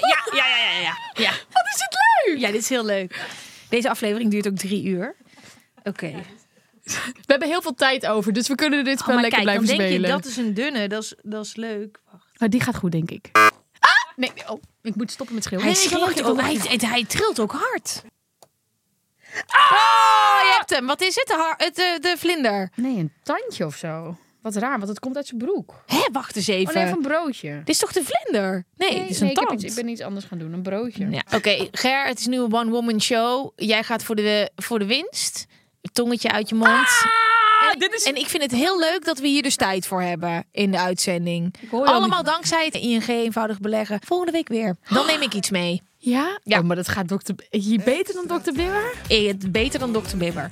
Ja, ja, ja, ja, ja, ja. Wat is het leuk! Ja, dit is heel leuk. Deze aflevering duurt ook drie uur. Oké.
We hebben heel veel tijd over, dus we kunnen dit
Oh,
spel
maar
lekker
kijk, dan
blijven
denk
spelen.
je, dat is een dunne. Dat is, dat is leuk.
Maar Oh, die gaat goed, denk ik. Nee, nee, oh, ik moet stoppen met schreeuwen.
Hij
Nee, ik wil nog
schreeuwt
even
ook.
nog
Hij,
even-
hij, hij trilt ook hard. Oh, je hebt hem. Wat is het? De, har- het, eh, de vlinder.
Nee, een tandje of zo. Wat raar, want het komt uit zijn broek.
Hé, wacht eens even.
Oh nee, van een broodje.
Dit is toch de vlinder? Nee,
Nee,
het is
nee,
een
ik, heb
tand.
iets- ik ben iets anders gaan doen, een broodje.
Ja. Oké, Ger, het is nu een one-woman show. Jij gaat voor de, voor de winst. Tongetje uit je mond. en, en ik vind het heel leuk dat we hier dus tijd voor hebben in de uitzending.
hoor je al
Allemaal dankzij het ING eenvoudig beleggen. Volgende week weer. Dan neem ik iets mee.
Ja?
Ja.
Oh, maar dat gaat dokter... Je beter dan dokter Bimmer?
Eh, het- Beter dan Dr. Bibber.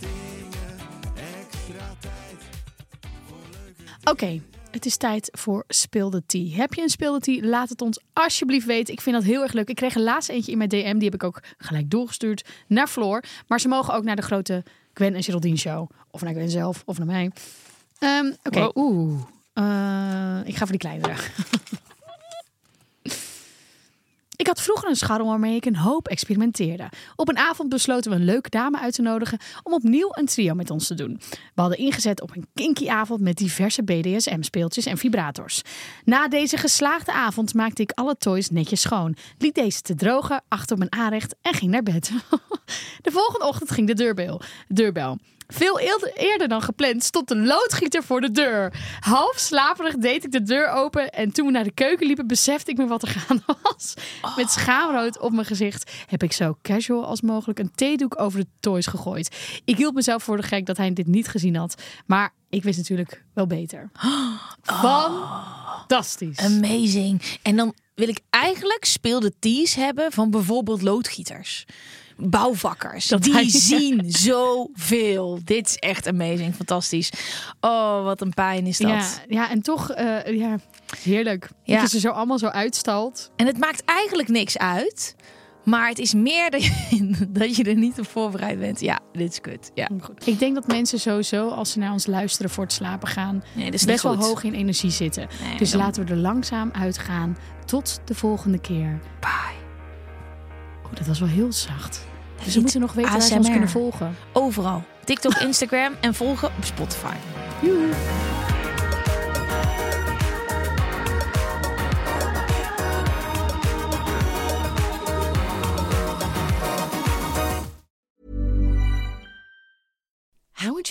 Oké, het is tijd voor Speel de Tea. Heb je een Speel de Tea? Laat het ons alsjeblieft weten. Ik vind dat heel erg leuk. Ik kreeg een laatste eentje in mijn DM. Die heb ik ook gelijk doorgestuurd naar Floor. Maar ze mogen ook naar de grote Gwen en Geraldine show. Of naar Gwen zelf, of naar mij. Ehm, Oké, oeh. Eh, ik ga voor die kleinere. Ik had vroeger een scharrel waarmee ik een hoop experimenteerde. Op een avond besloten we een leuke dame uit te nodigen om opnieuw een trio met ons te doen. We hadden ingezet op een kinky avond met diverse BDSM-speeltjes en vibrators. Na deze geslaagde avond maakte ik alle toys netjes schoon, liet deze te drogen achter mijn aanrecht en ging naar bed. De volgende ochtend ging de deurbel. deurbel. Veel eeld- eerder dan gepland stond de loodgieter voor de deur. Half slaperig deed ik de deur open en toen we naar de keuken liepen besefte ik me wat er gaande was. Met
Oh.
schaamrood op mijn gezicht heb ik zo casual als mogelijk een theedoek over de toys gegooid. Ik hield mezelf voor de gek dat hij dit niet gezien had, maar ik wist natuurlijk wel beter. Fantastisch.
Amazing. Oh. En dan wil ik eigenlijk speelde tees hebben van bijvoorbeeld loodgieters. Bouwvakkers. die
hij-
zien zoveel. Dit is echt amazing. Fantastisch. Oh, wat een pijn is dat.
Ja, ja, en toch, eh, ja, heerlijk.
Ja.
Dat je ze zo allemaal zo uitstalt.
En het maakt eigenlijk niks uit. Maar het is meer dat je, dat je er niet op voorbereid bent. Ja, dit is kut. Ja.
Ik denk dat mensen sowieso, als ze naar ons luisteren voor het slapen gaan,
Nee, dat is
best
niet
wel
goed.
hoog in energie zitten.
Nee,
dus
dan-
laten we er langzaam uitgaan. Tot de volgende keer.
Bye.
Oh, dat was wel heel zacht. Dus
Iets
we moeten nog weten waar ze ons
ASMR.
kunnen volgen.
Overal. TikTok, Instagram en volgen op Spotify.
Joehoe.
How would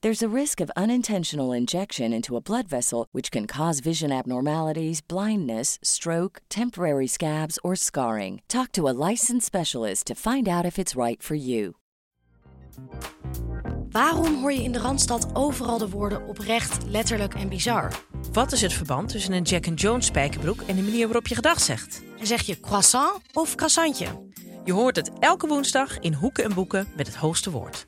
There's a risk of unintentional injection into a blood vessel, which can cause vision abnormalities, blindness, stroke, temporary scabs, or scarring. Talk to a licensed specialist to find out if it's right for you.
Waarom hoor je in de Randstad overal de woorden oprecht, letterlijk en bizar?
Wat is het verband tussen een Jack and Jones spijkerbroek en de manier waarop je gedag zegt?
En zeg je croissant of croissantje?
Je hoort het elke woensdag in Hoeken en Boeken met het hoogste woord.